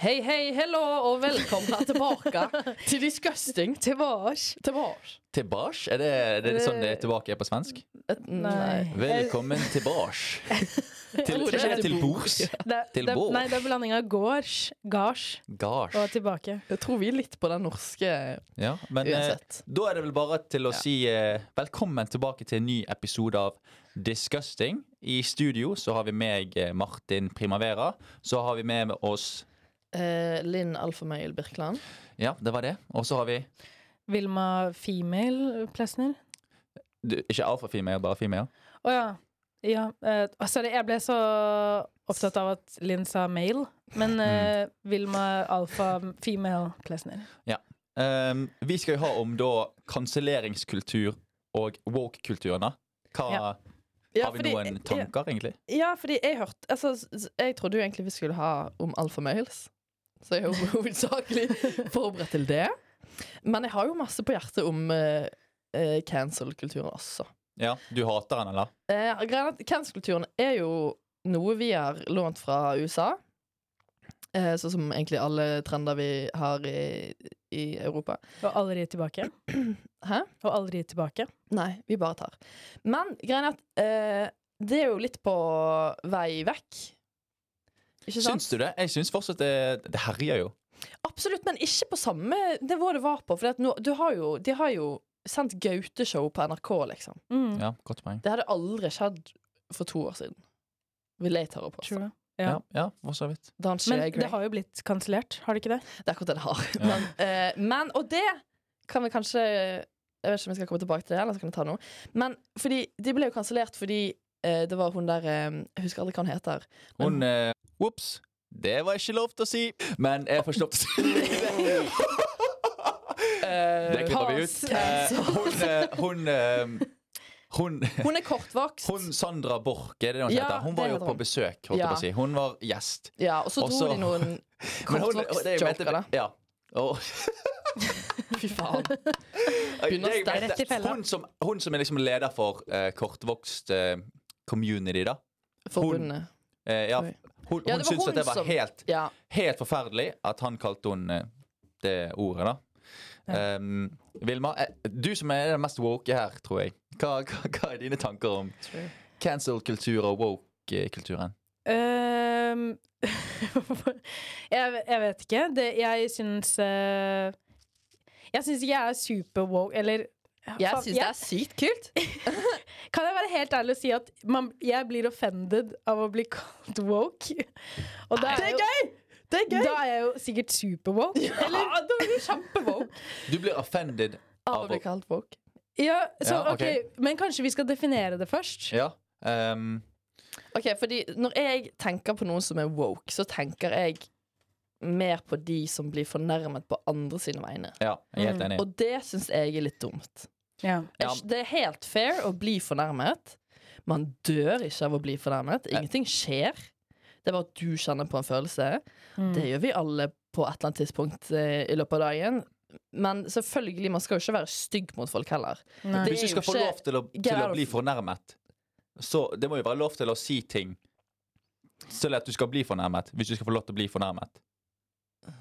Hei, hei, hello, og velkomna tilbake til Disgusting til vars. Til vars. Tilbake? Er det, er det sånn det er tilbake er på svensk? Nei. Velkommen tilbake. Til, Ordet er til bords. Det, Til det, båt. nei, det er blanding av gårds, gards og Gards. tilbake. Jeg tror vi er litt på den norske Ja, men eh, uansett. da er det vel bare til å si eh, velkommen tilbake til en ny episode av Disgusting. I studio så har vi meg, eh, Martin Primavera. Så har vi med oss Eh, Linn Alfamøyel Birkeland. Ja, det var det. Og så har vi Vilma Female Plesner. du, Ikke alfafimale, bare female. Å ja. ja eh, å, sorry, jeg ble så opptatt av at Linn sa male. Men Mm. eh, Vilma Alfa Female Plesner. Um, vi skal jo ha om da kanselleringskultur og woke-kulturene. Hva Ja. Har vi noen tanker, egentlig? Ja, fordi jeg hørte altså, s- Jeg trodde jo egentlig vi skulle ha om alfamales. Så jeg er jo hovedsakelig forberedt til det. Men jeg har jo masse på hjertet om eh, eh, cancel-kulturen også. Ja, Du hater den, eller? Eh, greia er at Cancel-kulturen er jo noe vi har lånt fra USA. Eh, sånn som egentlig alle trender vi har i, i Europa. Og aldri tilbake. Hæ? Og aldri tilbake. Nei, vi bare tar. Men greia er at eh, det er jo litt på vei vekk. Ikke sant? Syns du det? Jeg syns fortsatt det, det herjer jo. Absolutt, men ikke på samme nivå det var på. For at nå, du har jo, de har jo sendt Gaute-show på NRK, liksom. Mm, Ja, godt poeng. Det hadde aldri skjedd for to år siden. Vil jeg tørre å påstå. true. Ja, Ja. ja for så vidt. Da han Men Shea Gray- det har jo blitt kansellert, har det ikke det? Det er akkurat det det har. Ja. Men, eh, men, og det kan vi kanskje Jeg vet ikke om vi skal komme tilbake til det, eller så kan vi ta noe. Men fordi de ble jo kansellert fordi eh, det var hun der eh, Jeg husker aldri hva hun heter. Hun eh, Ops! Det var ikke lov til å si, men jeg får ikke lov til å si det. Det klipper vi ut. Eh, hun eh, altså. hun, eh, hun Hun er kortvokst. Hun Sandra Borch, er det det hun Ja, heter? Hun det var jo heter på hun. besøk, holdt Ja. jeg på å si. Hun var gjest. Ja, og så dro Også- de noen Men hun- det jeg mente- kortvokst-joker, da. Ja. Og, Fy faen. det jeg stein mente- rett i fella. hun, som, hun som er liksom leder for eh, kortvokst eh, community, da. Forbundet. Eh, ja, Oi. hun Ja, det hun var syntes hun at det var som- helt, Ja. helt forferdelig at han kalte hun eh, det ordet, da. Ehm, Vilma, eh, du som er den mest woke her, tror jeg. Hva, hva, hva er dine tanker om cancel-kultur og eh, woke-kulturen? Ehm, jeg, jeg vet ikke. Det, jeg syns eh, Jeg syns ikke jeg er superwoke, eller Jeg Faen, syns det er sykt kult. Kan jeg være helt ærlig og si at man, jeg blir offended av å bli kalt woke? Og da er, jo, gøy! Det er da er jeg jo sikkert superwoke. Eller? Ja, da blir du kjempewoke. Du blir offended Av av å bli kalt woke. Ja, så, Ja, ok, Men kanskje vi skal definere det først? Ja. ehm, Ok, fordi Når jeg tenker på noen som er woke, så tenker jeg mer på de som blir fornærmet på andre sine vegne. ja, jeg er helt enig. Og det syns jeg er litt dumt. Ja. Ja. Jeg- Det er helt fair å bli fornærmet. Man dør ikke av å bli fornærmet. Ingenting skjer. Det er bare at du kjenner på en følelse. Mm. Mm. Det gjør vi alle på et eller annet tidspunkt eh, i løpet av dagen. Men selvfølgelig, man skal jo ikke være stygg mot folk heller. Nei. Det Hvis du er jo skal få ikke- lov til å, til å Gerolf. bli fornærmet, så det må jo være lov til å si ting selv at du skal bli fornærmet, hvis du skal få lov til å bli fornærmet.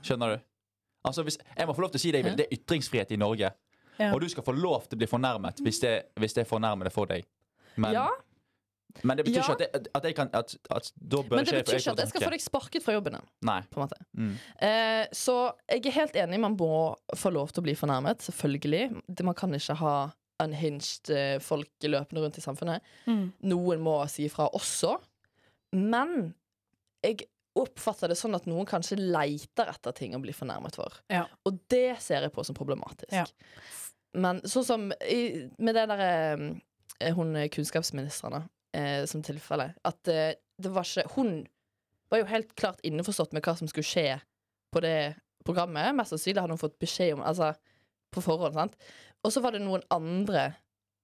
Skjønner du? Altså, hvis, jeg må få lov til å si det jeg vil. Det er ytringsfrihet i Norge. Ja. Og du skal få lov til å bli fornærmet hvis det, hvis det er fornærmende for deg. Men, Ja, men det betyr Ja. ikke at, jeg, at jeg kan at, at da bør Men det ikke betyr ikke at jeg skal få deg sparket fra jobben din. Nei. på en måte. Mm. Eh, så jeg er helt enig, man må få lov til å bli fornærmet, selvfølgelig. Det- Man kan ikke ha unhinged eh, folk løpende rundt i samfunnet. Mm. Noen må si ifra også. Men jeg oppfatter det sånn at noen kanskje leiter etter ting å bli fornærmet for. Ja. Og det ser jeg på som problematisk. Ja. Men sånn som i, med det derre eh, Hun eh, kunnskapsministeren, da, eh, som tilfelle At eh, det var ikke Hun var jo helt klart innforstått med hva som skulle skje på det programmet. Mest sannsynlig hadde hun fått beskjed om Altså på forhånd, sant. Og så var det noen andre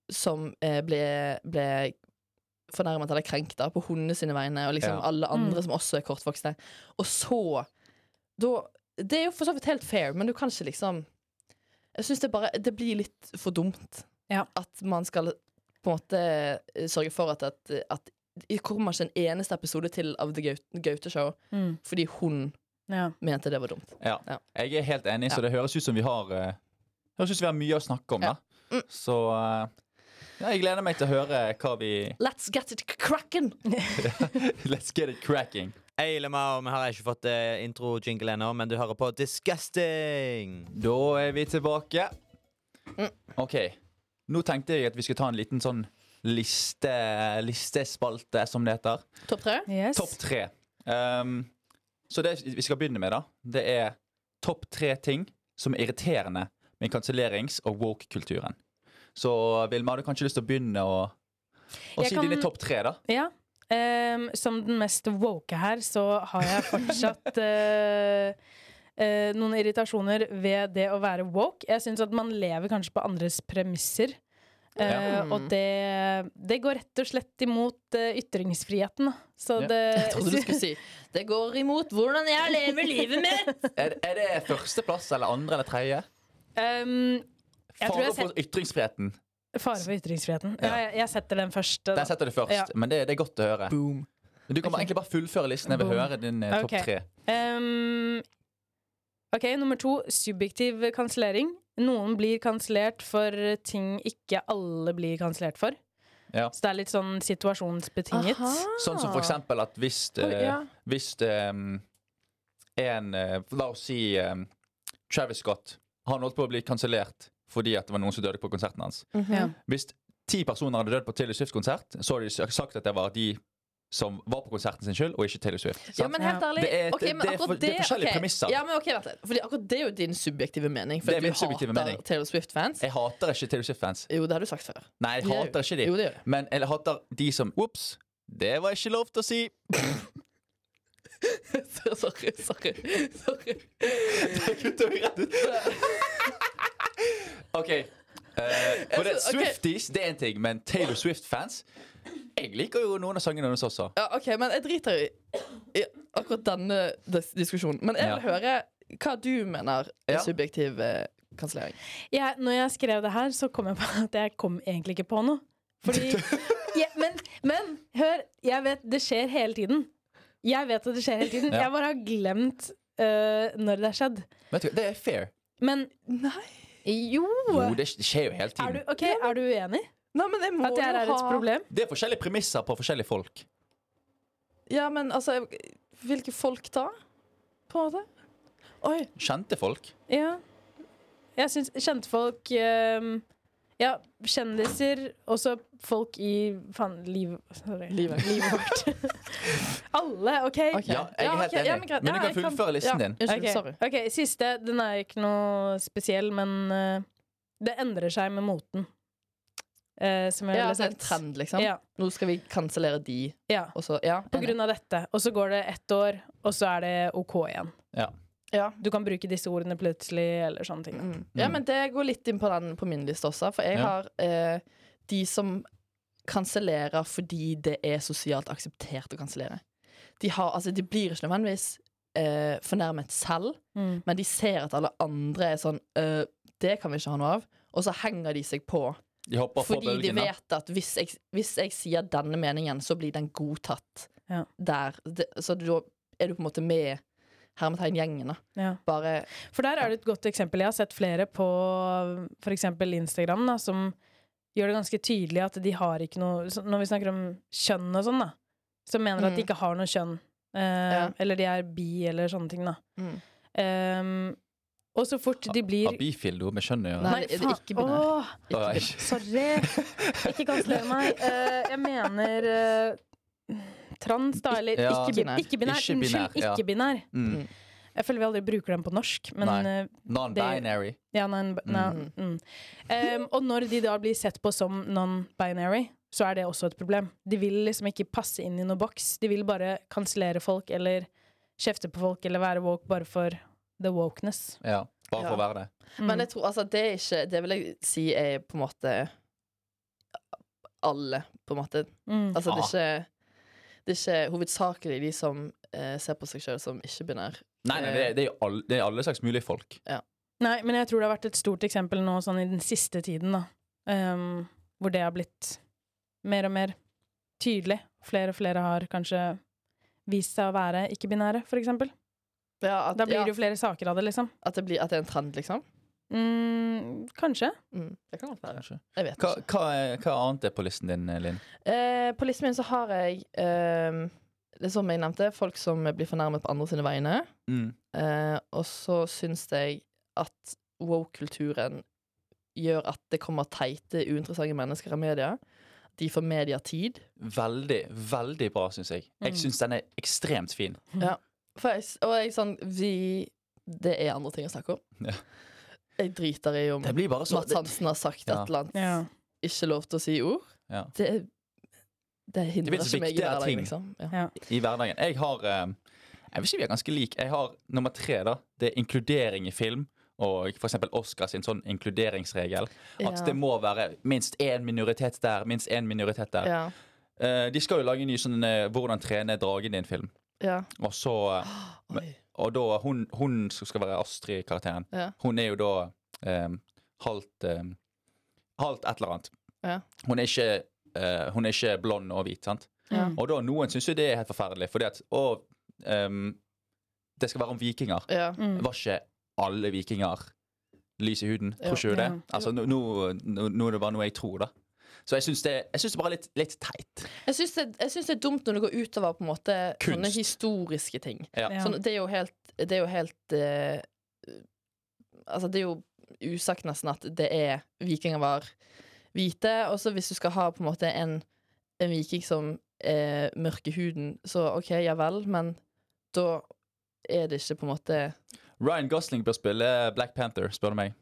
som eh, ble, ble fornærmet eller krenkt da, på hundene sine vegne, og liksom Ja. alle andre som også er kortvokste. Og så da, Det er jo for så vidt helt fair, men du kan ikke liksom Jeg syns det bare Det blir litt for dumt Ja. at man skal på en måte eh, sørge for at, at, at det kommer ikke en eneste episode til av The Gaute- Gaute Show Mm. fordi hun Ja. mente det var dumt. Ja. Ja. Jeg er helt enig, så det høres ut som vi har eh, Høres ut som vi har mye å snakke om. Ja. Mm. da Så eh, ja, jeg gleder meg til å høre hva vi Let's get it cracking! Let's get it cracking. Hei, Lemar. Vi har ikke fått eh, intro-jingle ennå, men du hører på Disgusting. Da er vi tilbake. Mm. OK. Nå tenkte jeg at vi skulle ta en liten sånn liste, listespalte, som det heter. Topp tre? Yes. Topp tre. Ehm, så det vi skal begynne med, da, det er topp tre ting som er irriterende med kansellerings- og woke-kulturen. Så Vilma, har du kanskje lyst til å begynne å, å Jeg si kan- dine topp tre, da? Ja. Ehm, som den mest woke her, så har jeg fortsatt eh, eh, noen irritasjoner ved det å være woke. Jeg syns at man lever kanskje på andres premisser. Eh, Ja. Mm. Og det, det går rett og slett imot eh, ytringsfriheten. da. Så Ja. det Jeg trodde du skulle si Det går imot hvordan jeg lever livet mitt! Er, er det førsteplass eller andre eller tredje? Ehm, Jeg tror Fare jeg for ytringsfriheten. Fare for ytringsfriheten. Ja. Ja. jeg, jeg setter den først. da. Den setter du først, Ja. men det, det er godt å høre. Boom. Men du kan bare- egentlig bare fullføre listen. Jeg vil Boom. høre din eh, topp Ok. tre. Ehm, ok, nummer to. Subjektiv kansellering. Noen blir kansellert for ting ikke alle blir kansellert for. Ja. Så det er litt sånn situasjonsbetinget. Sånn Ah. som for eksempel at hvis eh, det, Ja. Hvis ehm, en eh, La oss si ehm, Travis Scott. Han holdt på å bli kansellert fordi at det var noen som døde på konserten hans. Ja. Hvis ti personer hadde dødd på Taylor Swift-konsert, så hadde de sagt at det var de som var på konserten sin skyld, og ikke Taylor Swift. Ja, sant? men helt Ja. ærlig Det er- ok, men det er akkurat for- det er forskjellige ok. premisser. Ja, men ok, vent litt Fordi akkurat det er jo din subjektive mening Det Fordi er min du hater subjektive mening. Taylor Swift-fans Jeg hater ikke Taylor Swift-fans. Jo, det har du sagt før Nei, jeg Det gjør- hater ikke de. Jo, det gjør jeg Men jeg hater de som Ops, det var ikke lov til å si. Sorry, sorry, sorry. Kutter vi rett ut? OK. eh, for det, Altså, ok. Swifties det er en ting, men Taylor Swift-fans Jeg liker jo noen av sangene hennes også. Ja, ok, men jeg driter i, i akkurat denne dis diskusjonen Men jeg vil høre hva du mener Ja. er subjektiv eh, kansellering Jeg, når jeg skrev det her, så kom jeg på at jeg kom egentlig ikke på noe. Fordi ja, men, men hør, jeg vet det skjer hele tiden. Jeg vet at det skjer hele tiden. Ja. Jeg bare har glemt øh, når det har skjedd. Vet du, hva, Det er fair. Men Nei jo! Jo, det sk- skjer jo hele Er du, tiden. ok, er du uenig? Nei, men jeg må At det her jo er et ha- problem? Det er forskjellige premisser på forskjellige folk. Ja, men altså jeg- Hvilke folk da? På en måte Oi Kjente folk. Ja. Jeg syns kjentfolk ehm, Ja, kjendiser, også folk i faen liv, sorry. Livet. livet vårt. Alle, OK? Ok. Ja, jeg er helt ok, enig. men greit. Men du Ja, kan jeg fullføre listen din. Unnskyld, Ok, sorry. ok, Siste. Den er ikke noe spesiell, men eh, det endrer seg med moten. Eh, som jeg Ja, ville altså en sagt. trend, liksom. Ja, Nå skal vi kansellere de, ja. og så Ja. På grunn av dette. Og så går det ett år, og så er det OK igjen. ja. Du kan bruke disse ordene plutselig, eller sånne ting. Mm. ja, men det går litt inn på den på min liste også, for jeg Ja. har eh, de som kansellerer fordi det er sosialt akseptert å kansellere. De, har, altså, de blir ikke nødvendigvis eh, fornærmet selv, Mm. men de ser at alle andre er sånn «Øh, Det kan vi ikke ha noe av. Og så henger de seg på. De hopper på Fordi de bølgen. da. vet at hvis jeg, hvis jeg sier denne meningen, så blir den godtatt Ja. der. Det, så da er du på en måte med hermetegngjengen, da. Ja. Bare For der er det et godt eksempel. Jeg har sett flere på f.eks. Instagram da, som gjør det ganske tydelig at de har ikke noe så Når vi snakker om kjønn og sånn, da, som mener at de Mm. ikke har noe kjønn. Eh, Ja. Eller de er bi, eller sånne ting, da. Mm. Ehm, og så fort de blir Har bifil noe med kjønn å gjøre? Nei. det er faen. ikke binær. Åh, ikke Åh, begynn. jeg- sorry! Ikke kansler meg. Eh, jeg mener eh, trans, da. Eller Ja. ikke-binær. Ikke-binær. Ikke binær, Unnskyld, ja. ikke-binær. Mm. Jeg føler vi aldri bruker den på norsk, men Nei. eh, Non-binary. Ja, nei, nei, Mm. mm. Em, og når de da blir sett på som non-binary, så er det også et problem. De vil liksom ikke passe inn i noen boks. De vil bare kansellere folk eller kjefte på folk eller være woke bare for the wokeness. Ja, bare for å Ja. være det. Mm. Men jeg tror altså det er ikke Det vil jeg si er på en måte alle, på en måte. mm. Altså det er ikke det er ikke hovedsakelig de som eh, ser på seg sjøl som ikke-binær. Nei, nei, det er, det er, jo alle, det er alle slags mulige folk. Nei, men jeg tror det har vært et stort eksempel nå sånn i den siste tiden, da. Em, hvor det har blitt mer og mer tydelig. Flere og flere har kanskje vist seg å være ikke-binære, for eksempel. Ja, at, Da blir ja, det jo flere saker av det, liksom. at, det blir, at det er en trend, liksom. Mm, kanskje. Mm, det kan godt være. Kanskje. Jeg vet Hva, ikke. hva, er- hva annet er på listen din, Linn? Eh, på listen min så har jeg eh, det er som jeg nevnte, folk som blir fornærmet på andre sine vegne. Mm. Eh, og så syns jeg at wow-kulturen gjør at det kommer teite, uinteressante mennesker i media. De får mediatid. Veldig, veldig bra, syns jeg. Jeg Mm. syns den er ekstremt fin. For jeg, s- og jeg sånn vi, Det er andre ting å snakke om. Ja. Jeg driter i om Det blir bare så Mats Hansen har sagt Ja. et eller annet. Ja. Ikke lov til å si ord. Ja. Det, det hindrer Det blir så ikke meg i viktige hverdagen, ting. liksom. Ja. i hverdagen. Jeg har eh, Jeg vil si vi er ganske like. Jeg har nummer tre, da. Det er inkludering i film. Og for eksempel Oscar sin sånn inkluderingsregel. At Ja. det må være minst én minoritet der, minst én minoritet der. Ja. Eh, de skal jo lage en ny sånn eh, 'Hvordan trene dragen din'-film. ja. Og så eh, Oi. Og da hun, hun som skal være Astrid-karakteren, Ja. hun er jo da eh, halvt eh, Halvt et eller annet. Ja. Hun er ikke eh, Hun er ikke blond og hvit, sant? Ja. Og da noen syns jo det er helt forferdelig, fordi at å, ehm, det skal være om vikinger. Ja. Mm. Var ikke alle vikinger lys i huden? Ja. Tror ikke du det? Ja. Altså, nå, nå, nå- nå er det bare noe jeg tror, da. Så jeg syns det, jeg syns det bare er litt, litt teit. Jeg syns det, jeg syns det er dumt når det går utover på en måte sånne Kunst. historiske ting. Ja. Ja. Sånn, det er jo helt, det er jo helt eh, Altså, det er jo usagt nesten at det er vikinger var hvite. Og så hvis du skal ha på en måte en, en viking som er mørk i huden, så OK, ja vel, men da er det ikke på en måte Ryan Gosling bør spille Black Panther, spør du meg.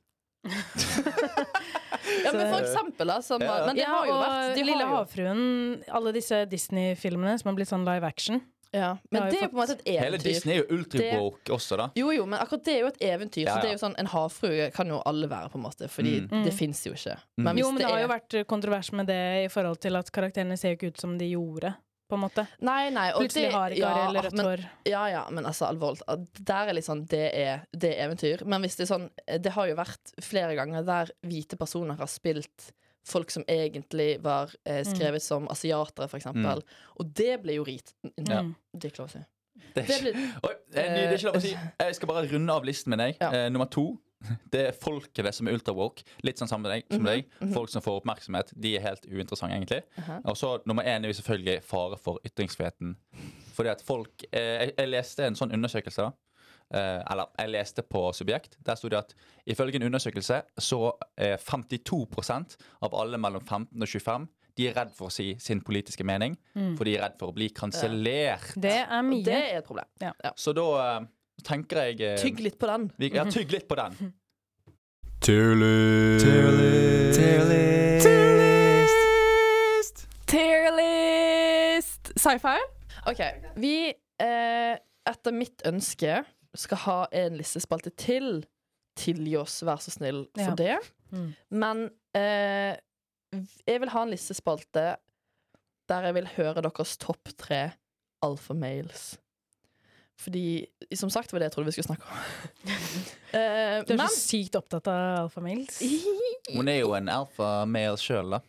Ja, men for eksempel, da. Som, Ja, ja. Men det har jo og vært de Lille har jo, havfruen, alle disse Disney-filmene som har blitt sånn live action. ja. har Men jo det er jo på en måte et Hele eventyr. Disney er jo ultrawoke også, da. Jo, jo, men akkurat det er jo et eventyr. Ja, ja. Så det er jo sånn, En havfrue kan jo alle være, på en måte, fordi Mm. det fins jo ikke. Mm. Men hvis Jo, men det har er jo vært kontrovers med det i forhold til at karakterene ser jo ikke ut som de gjorde. På en måte. Nei, nei, og Plutselig det- har ikke ja, Ariel rødt men, hår. Ja, ja, men altså alvorlig talt, Der er litt sånn, det er, det er eventyr Men hvis det er sånn, det har jo vært flere ganger Der hvite personer har spilt Folk som egentlig var eh, Mm. skrevet som asiatere for eksempel Mm. Og det ble jo rit Mm, Ja. Det er ikke lov å si Det Det er ble, Oi, det er ny- det er ikke lov å si. Jeg skal bare runde av listen min. Jeg. Ja. Eh, nummer to. Det er folkene som er ultrawoke. Litt sånn sammen med deg. Som deg. Folk som får oppmerksomhet. De er helt uinteressante, egentlig. Aha. Og så nummer én er jo selvfølgelig fare for ytringsfriheten. Fordi at folk eh, jeg, jeg leste en sånn undersøkelse, da. Eh, eller jeg leste på Subjekt. Der sto det at ifølge en undersøkelse så er 52 av alle mellom 15 og 25 de er redd for å si sin politiske mening, for de er redd for å bli kansellert. Mm. Det er mye. det er et problem Så da eh, tenker jeg eh, Tygg litt på den vi, ja, tygg litt på den. Tearlist! Sci-fi? Ok, vi eh, etter mitt ønske skal ha en listespalte til. Tilgi oss, vær så snill, for Ja. det. Mm. Men eh, jeg vil ha en listespalte der jeg vil høre deres topp tre alfamales. Fordi, som sagt, var det jeg trodde vi skulle snakke om. eh, Du er men så sykt opptatt av alfamils. Hun er jo en alfa male sjøl, da.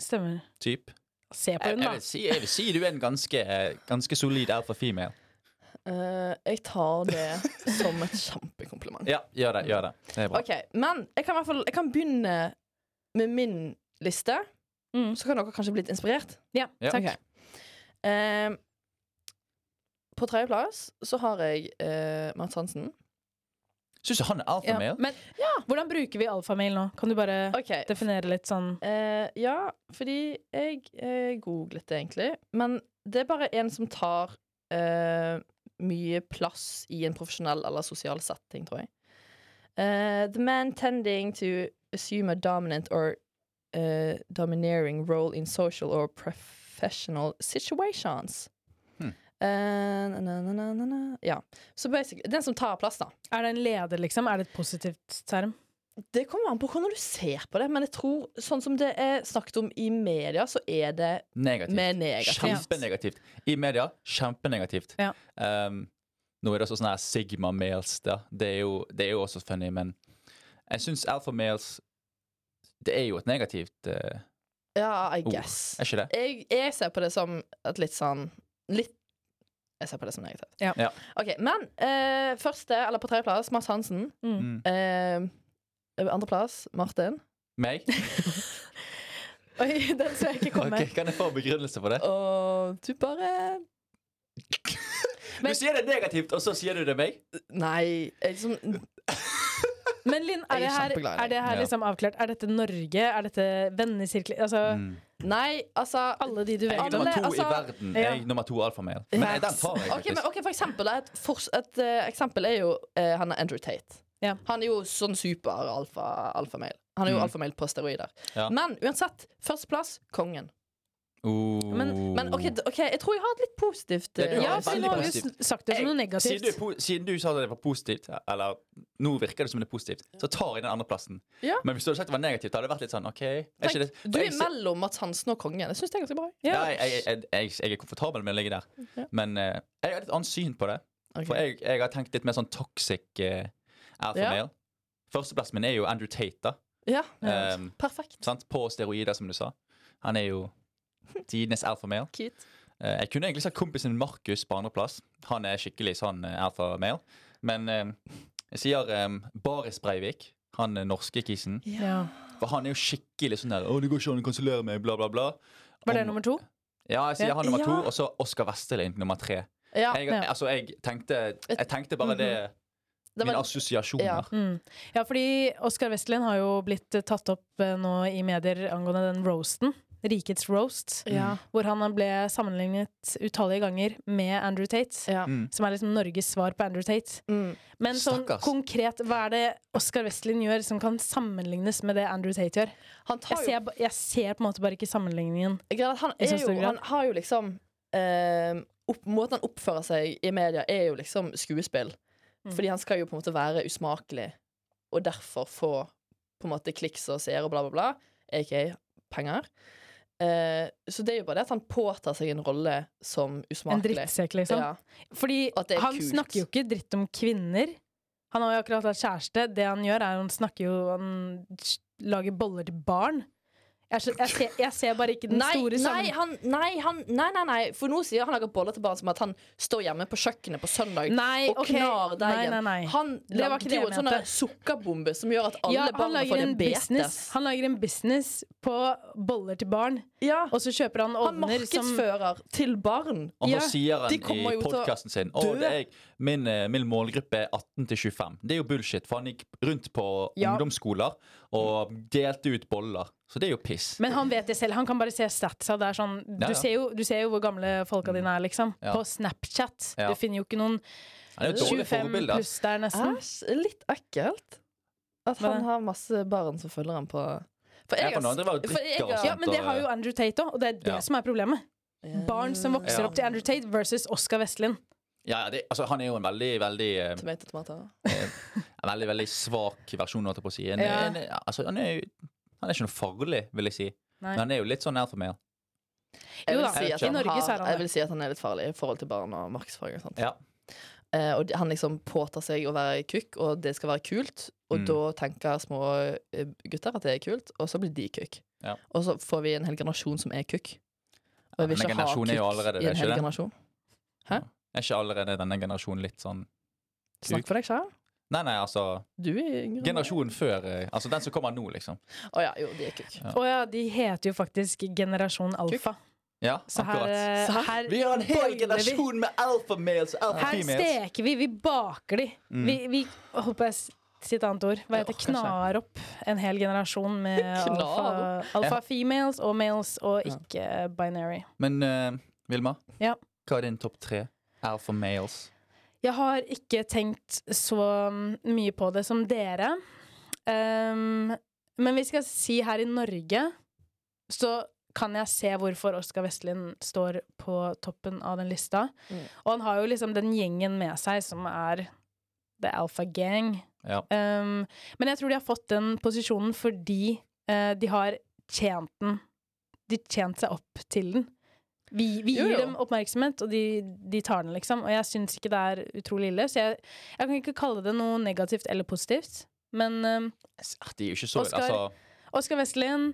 Stemmer. Typ. Se på Jeg, hun, jeg, da. vil si, jeg vil si du er en ganske, eh, ganske solid alfa female. eh, jeg tar det som et kjempekompliment. Ja, gjør det. gjør det Det er bra. Ok, Men jeg kan, i hvert fall, jeg kan begynne med min liste. Mm. Så kan dere kanskje bli litt inspirert. Ja, Ja. takk. Ok. Ehm, på tredjeplass så har jeg eh, Mats Hansen. Syns du han er alfa Ja. male? Men Ah, hvordan bruker vi alfamil nå? Kan du bare Ok, definere litt sånn eh, Ja, fordi jeg eh, googlet det egentlig. Men det er bare en som tar eh, mye plass i en profesjonell eller sosial setting, tror jeg. Eh, the man tending to assume a dominant or eh, domineering role in social or professional situations. Hmm. Eh, na, na, na, na, na. Ja. Så basically Den som tar plass, da. Er det en leder, liksom? Er det et positivt term? Det kommer an på hvordan du ser på det, men jeg tror sånn som det er snakket om i media, så er det Negativt. med negativt. Kjempenegativt. I media, kjempenegativt. Ja. Ehm, nå er det også sånne her sigma males, da. Det er jo, det er jo også funny, men jeg syns alfa males Det er jo et negativt eh, Ja, I Ord. guess. Er ikke det? Jeg, jeg ser på det som et litt sånn Litt Jeg ser på det som negativt. Ja. Ja. Ok, Men eh, første, eller på tredjeplass, Mats Hansen. Mm. Mm. Eh, Andreplass, Martin. Meg? Oi, den så jeg ikke komme. Ok, kan jeg få en begrunnelse for det? Og du bare du sier det negativt, og så sier du det meg? Øh, Nei. Jeg liksom, Men Linn, Jeg er det her, er kjempeglad i er det her deg. liksom avklart? Er dette Norge? Er dette vennesirkler? Altså, Mm. nei, altså alle de du Mm. vet Jeg er om. Alle- nummer to altså- i verden. Ja. Jeg er nummer to alfamel. Men Ja. eh, den tar jeg Ok, faktisk. men, ok, for eksempel Et, fors- et eh, eksempel er jo eh, Han er Andrew Tate. Ja. Han er jo sånn super alfa- alfamale. Han er jo Mm. alfamale på steroider. Ja. Men uansett, førsteplass kongen. Oh. Men, men OK, d- ok, jeg tror jeg har et litt positivt Det er du eh, har Ja, veldig for nå har vi jo positivt. sn- sagt det som noe Oh. Siden du, negativt. er po- siden du sa at det var positivt, eller nå virker det som det er positivt, så tar jeg den andre plassen. Ja. Men hvis du hadde sagt det var negativt, hadde det vært litt sånn OK. Er ikke det, Du for jeg er ser- mellom Mats Hansen og kongen. Jeg syns det er ganske bra. Ja. Nei, jeg, jeg, jeg, jeg er komfortabel med å ligge der. Ja. Men eh, jeg har et annet syn på det. Ok. For jeg, jeg har tenkt litt mer sånn toxic uh, alpha Ja. male. Førsteplassen min er jo Andrew Tate, da. Ja, Ja. Ehm, perfekt. sant? På steroider, som du sa. Han er jo tidenes alpha male. Cute. Eh, jeg kunne egentlig sagt kompisen min Markus på andreplass. Han er skikkelig sånn eh, alpha male. Men eh, jeg sier eh, Baris Breivik. Han eh, norske kisen. Ja. For han er jo skikkelig sånn der 'Å, det går ikke an å kansellere meg', bla, bla, bla. Var det Om- nummer to? Ja, jeg sier han nummer Ja. to, og så Oskar Vestelin nummer tre. Ja, Mhm. Jeg, ja. altså, jeg, tenkte, jeg tenkte bare det det Mine var, assosiasjoner. Ja. Mm. Ja, fordi Oskar Westlin har jo blitt eh, tatt opp eh, nå i medier angående den roasten. Rikets roast. ja, Hvor han ble sammenlignet utallige ganger med Andrew Tate. ja. Mm. Som er liksom Norges svar på Andrew Tate. Mm. Men sånn Stakkars. konkret, hva er det Oskar Westlin gjør som kan sammenlignes med det Andrew Tate gjør? Han Jeg tar jo ser, ba- jeg ser på en måte bare ikke sammenligningen. Greia er at han, I så er jo, stor grad. han har jo liksom eh, opp, Måten han oppfører seg i media, er jo liksom skuespill. Mm. Fordi han skal jo på en måte være usmakelig, og derfor få på en måte kliks og seere og bla, bla, bla. Aka penger. Eh, så det er jo bare det at han påtar seg en rolle som En usmakelig. drittsekk, liksom. Ja. Fordi At det er han kult. snakker jo ikke dritt om kvinner. Han har jo akkurat hatt kjæreste. Det han gjør, er han snakker jo Han s- lager boller til barn. Jeg, skjøn- jeg, ser, jeg ser bare ikke den Nei, store nei, sammen... han, nei, han, nei, nei, nei. For nå sier han lager boller til barn som at han står hjemme på kjøkkenet på søndag Nei, og ok. knar deigen. Nei, nei, nei. Han Det var lagde ikke det jo jeg en sånn mente. der sukkerbombe som gjør at alle ja, han barna lager får en business. diabetes. Han lager en business på boller til barn, Ja. og så kjøper han Han ovner som markedsfører til barn. Og Ja, så sier han de kommer i jo til å podkasten sin Å, dø. det er jeg, min, eh, min målgruppe er 18 til 25. Det er jo bullshit, for han gikk rundt på Ja. ungdomsskoler og delte ut boller. Så det er jo piss. Men han vet det selv. Han kan bare se statsa. Det er sånn, Ja, du, ja. ser jo, du ser jo hvor gamle folka dine er, liksom. Ja. På Snapchat. Ja. Du finner jo ikke noen Han er jo et dårlig 25 forbilde. ass. pluss der, nesten. Æsj, litt ekkelt. At Hva han da? har masse barn som følger ham på For Ja, for noen andre var jo for jeg drikker og har- sånt. Ja, men det har jo Andrew Tate òg, og det er det Ja. som er problemet. Ja. Barn som vokser Ja. opp til Andrew Tate versus Oscar Westlin. Ja, ja, det, altså, han er jo en veldig, veldig eh, Tomato, tomato. En veldig, veldig svak versjon, holdt jeg på å si. En, Ja. en, altså, han, er, jo- han er ikke noe farlig, vil jeg si. Nei. Men han er jo litt sånn alfa male. Jeg Jo vil, da, si i at han Norge så er har, han det. jeg vil si at han er litt farlig i forhold til barn og markedsføring. Og sånt. Ja. Eh, og de- han liksom påtar seg å være kukk, og det skal være kult. Og Mm. da tenker små eh, gutter at det er kult, og så blir de kukk. Ja. Og så får vi en hel generasjon som er kukk. Og jeg Ja, vil men ikke en ha generasjon er jo allerede kukk i det, en hel ikke det? generasjon. Er ikke allerede denne generasjonen litt sånn Snakk for deg sjøl. Nei, nei, altså Du er yngre. enn meg. Generasjonen før eh, Altså den som kommer nå, liksom. Å ja, jo, de er kukk. Ja. Å ja, de heter jo faktisk Generasjon Alfa. Ja, Så her, akkurat. eh, Så her Vi har en hel boiler vi. generasjon med alpha males og alpha Her females. steker vi, vi baker de. Mm. Vi, vi å, håper jeg s- sier et annet ord. Hva heter Jeg orker ikke. knar opp en hel generasjon med Knar alfa, alfa females og males og ikke binary. Men eh, Vilma, Ja. hva er din topp tre alpha males? Jeg har ikke tenkt så mye på det som dere. Ehm, men vi skal si her i Norge så kan jeg se hvorfor Oskar Vestlin står på toppen av den lista. Mm. Og han har jo liksom den gjengen med seg som er The Alpha Gang. Ja. Ehm, men jeg tror de har fått den posisjonen fordi eh, de har tjent den. De tjent seg opp til den. Vi, vi Jo, gir jo. dem oppmerksomhet, og de, de tar den, liksom. Og jeg syns ikke det er utrolig ille, så jeg, jeg kan ikke kalle det noe negativt eller positivt. Men um, Ah, De er jo ikke så Oscar. Altså Oskar Vestlin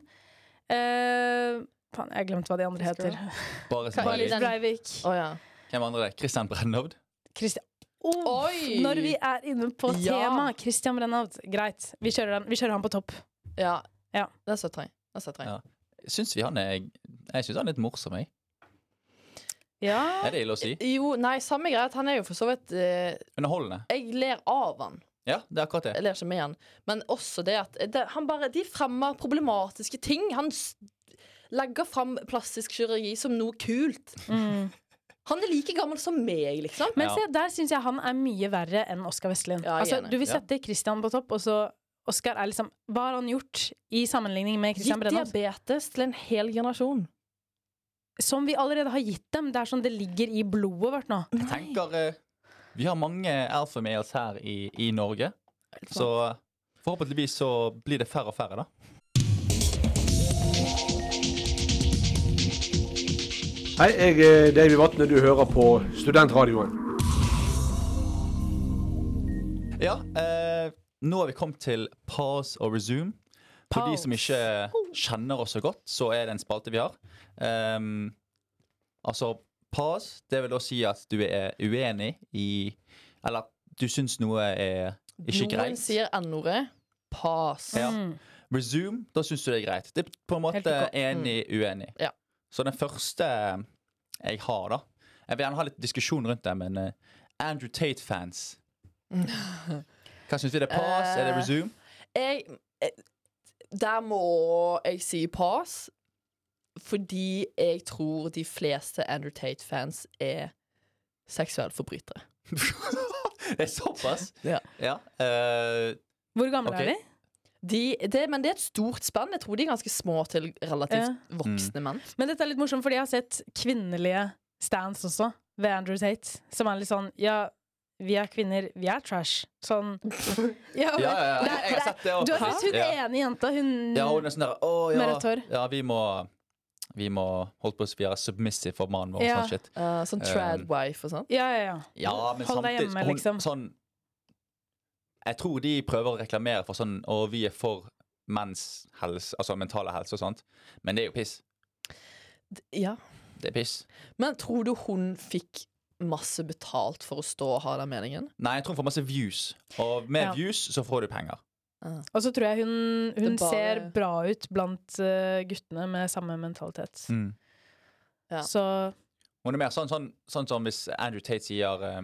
eh, Faen, jeg har glemt hva de andre Oscar. heter. bare som Hva er veldig den? Breivik. Å ja. Hvem andre er det? Christian Brennovd? Christian oh, Oi! Når vi er inne på Ja. tema Christian Brennaud, greit. Vi kjører, han. vi kjører han på topp. Ja. Ja. Det støtter jeg. Det støtter jeg. Ja. Syns vi han er Jeg syns han er litt morsom, jeg. Ja. Er det ille å si? Jo, nei, samme greit. Han er jo for så vidt eh, Underholdende. Jeg ler av han. Ja, det er akkurat det. Jeg ler ikke med han. Men også det at det, han bare, de fremmer problematiske ting. Han s legger fram plastisk kirurgi som noe kult. Mm. Han er like gammel som meg, liksom. Men Ja. se, der syns jeg han er mye verre enn Oskar Vestlund. Ja, jeg er altså, enig. du vil Ja. sette Christian på topp, og så Oskar er liksom Hva har han gjort i sammenligning med Gitt Christian Brennaud? diabetes til en hel generasjon. Som vi allerede har gitt dem. Det er sånn det ligger i blodet vårt nå. Jeg tenker eh, Vi har mange alpha males her i, i Norge, så forhåpentligvis så blir det færre og færre, da. Hei, jeg er Davy Vatne. Du hører på Studentradioen. Ja, eh, nå har vi kommet til pause og resume. For de som ikke kjenner oss så godt, så er det en spalte vi har. Ehm, altså, pause, det vil da si at du er uenig i Eller at du syns noe er ikke Noen greit. sier n-ordet. Pass. Ja. Mm. Resume, da syns du det er greit. Det er på en Helt måte ok. enig, uenig. Mm. Ja. Så den første jeg har, da Jeg vil gjerne ha litt diskusjon rundt det, men eh, Andrew Tate-fans Hva syns vi? Det er pass? er det Eh, resume? Jeg eh, Der må jeg si pass. Fordi jeg tror de fleste Andrew Tate-fans er seksuelle forbrytere. det er såpass? Ja. eh, Hvor gamle Ok. er de? De, det, men det er et stort spenn. Jeg tror de er ganske små til relativt Ja. Mm. voksne menn. Men dette er litt morsomt, fordi jeg har sett kvinnelige stands også ved Andrew Tate. Som er litt sånn Ja, vi er kvinner. Vi er trash. Sånn. Ja, ja, ja, ja. det er- Jeg har sett det Du har også. sett hun Ja. ene jenta, hun Ja, hun er sånn der Å, ja. Med rødt hår. ja, vi må Vi må holdt på å være submissive for mannen vår. Ja. Sånn shit. Eh, sånn trad Um, wife og sånn. Ja, ja, ja. Ja, men Hold deg samtidig hjemme, hun, liksom. sånn, Jeg tror de prøver å reklamere for sånn Å, vi er for menns helse, altså mentale helse og sånt. Men det er jo piss. Ja. Det er piss. Men tror du hun fikk masse betalt for å stå og ha den meningen? Nei, jeg tror hun får masse views. Og med Ja. views så får du penger. Og så tror jeg hun, hun Det bare- ser bra ut blant eh, guttene med samme mentalitet. Mm. Ja. Så Hun er mer sånn, sånn, sånn som hvis Andrew Tate sier eh,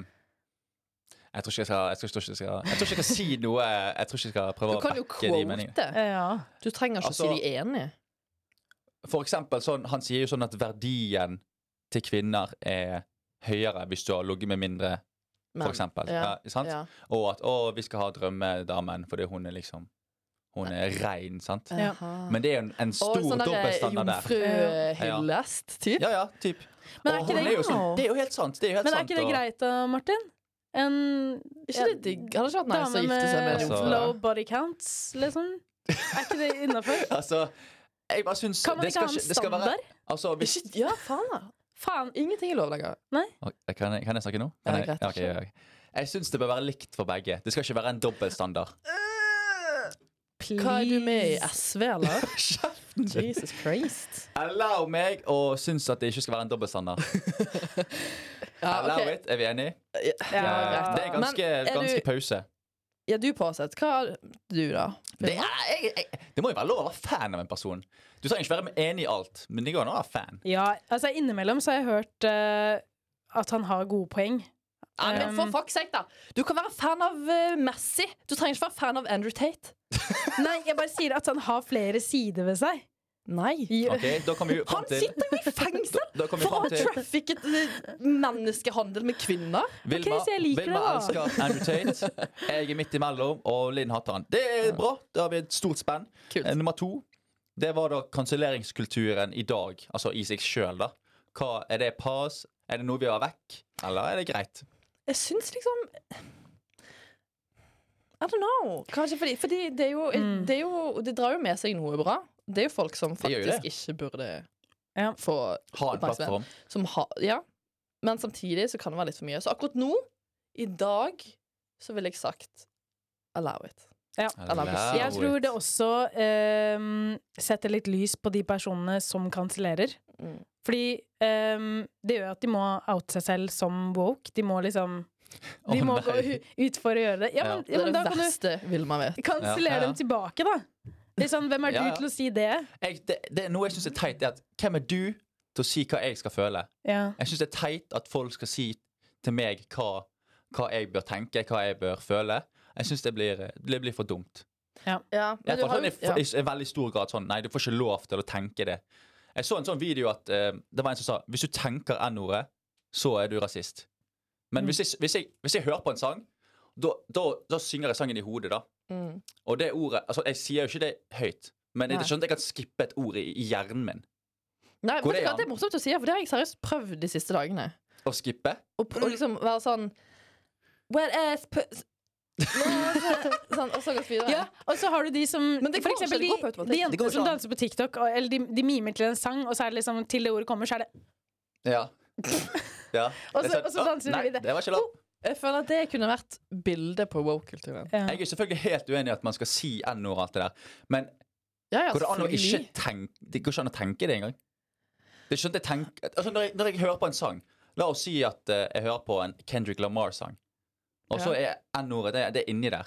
jeg tror, ikke jeg, skal, jeg, tror ikke jeg, skal, jeg tror ikke jeg skal si noe Jeg tror ikke jeg skal Du prøve å kan jo backe de meningene. quote. eh, ja. Du trenger ikke Altså- å si de er enige. For eksempel, sånn, han sier jo sånn at verdien til kvinner er høyere hvis du har ligget med mindre, Men- for eksempel. Ja. ja, sant? ja. Og at 'å, vi skal ha drømmedamen fordi hun er liksom Hun er rein', sant? Ja. Aha. Men det er jo en, en stor og sånn eh, der dobbeltstandard der. jomfruhyllest, typ. Ja, ja, typ. Men er Og ikke hun det- er jo sånn, Wow. det er jo helt sant. Det er jo helt Men er sant, ikke det og- greit da, Martin? En Ikke det digg? Hadde ikke vært nice dame å gifte seg med en med Altså, jomfru. low body counts, liksom? Er ikke det innafor? Altså, jeg bare syns Kan man det skal ikke ha en det skal være- standard? Altså, hvis Ikke, ja, faen da. Faen. Ingenting er lov lenger. Ok, Kan jeg, kan jeg snakke nå? Ja, Kan jeg, greit. ja, ok, ja, ok. jeg syns det bør være likt for begge. Det skal ikke være en dobbeltstandard. Eh! Hva er du med i please. SV, eller? Jesus Christ. Allow meg å synes at det ikke skal være en dobbeltstandard. Ja, Allow Ah, ok. it, er vi enige? Ja, Eh, greit. det er ganske, Men er du- ganske pause. Ja, du påsett. Hva har du, da? Det, er, jeg, jeg, det må jo være lov å være fan av en person. Du trenger ikke være enig i alt, men det går an å være fan. Ja, altså innimellom så har jeg hørt eh, at han har gode poeng. Ja, men for fuck's sake, da. Du kan være fan av eh, Messi. Du trenger ikke være fan av Andrew Tate. Nei, jeg bare sier at han har flere sider ved seg. Nei. Ok, da kan vi jo fram Han til sitter jo i fengsel da kan vi for å fram ha til trafficket eh, menneskehandel med kvinner. Vilma, så jeg liker Vilma det, da. elsker Andrew Tate. Jeg er midt imellom, og Linn hater han. Det er bra. Da har vi et stort spenn. Kult. Eh, Nummer to det var da kanselleringskulturen i dag, altså i seg sjøl, da. Hva, er det pass? Er det noe vi har vekk? Eller er det greit? Jeg syns liksom I don't know. Kanskje fordi, fordi det, er jo, Mm. det er jo Det drar jo med seg noe bra. Det er jo folk som Det gjør jo faktisk ikke burde Ja. få Ha en Oppmerksomhet. plattform. som ha, Ja. Men samtidig så kan det være litt for mye. Så akkurat nå, i dag, så ville jeg sagt allow it. Ja. Allow Jeg tror det også ehm, setter litt lys på de personene som kansellerer. Mm. Fordi ehm, det gjør at de må oute seg selv som woke. De må liksom De Å, må nei. gå u- ut for å gjøre det. Ja, men, Det ja, er men det da kan du verste Vilma vet. kansellere Ja, ja. dem tilbake, da. Det er sånn, Hvem er du Ja, ja. til å si det? Jeg, det, det er noe jeg syns er teit. Det er at, hvem er du til å si hva jeg skal føle? Ja. Jeg syns det er teit at folk skal si til meg hva, hva jeg bør tenke, hva jeg bør føle. Jeg syns det, blir- det blir for dumt. Ja, Jeg men du tror har sånn, jo ja. i, i, I veldig stor grad sånn Nei, du får ikke lov til å tenke det. Jeg så en sånn video at eh, det var en som sa hvis du tenker N-ordet, så er du rasist. Men Mm. hvis, jeg, hvis, jeg, hvis jeg hører på en sang, da, da, da synger jeg sangen i hodet, da. Mm. Og det ordet Altså, jeg sier jo ikke det høyt, men det er Nei. ikke sånn at jeg kan skippe et ord i, i hjernen min. Nei, Går vet det du hva, an? det er morsomt å si, for det har jeg seriøst prøvd de siste dagene. Å skippe. Og, og liksom være sånn Wet ass puss Sånn, og så gått videre. Ja, og så har du de som Men det For går ikke, eksempel det de, går på automatikk. de Det går jentene sånn. som ikke an. danser på TikTok, og, eller de, de mimer til en sang, og så er det liksom til det ordet kommer, så er det Ja. ja. Og Jeg så- sa, og så «Å, danser du nei, videre.» Oh. Det var ikke lov. Jeg føler at det kunne vært bildet på woke-kulturen. ja. Jeg er selvfølgelig helt uenig i at man skal si N-ord og alt det der, men Ja, ja, går det an å ikke selvfølgelig. tenke Det går ikke an å tenke det engang. Det er ikke sånn at jeg tenker altså når, jeg, når jeg hører på en sang La oss si at eh, jeg hører på en Kendrick Lamar-sang, og så er N-ordet det, det er inni der.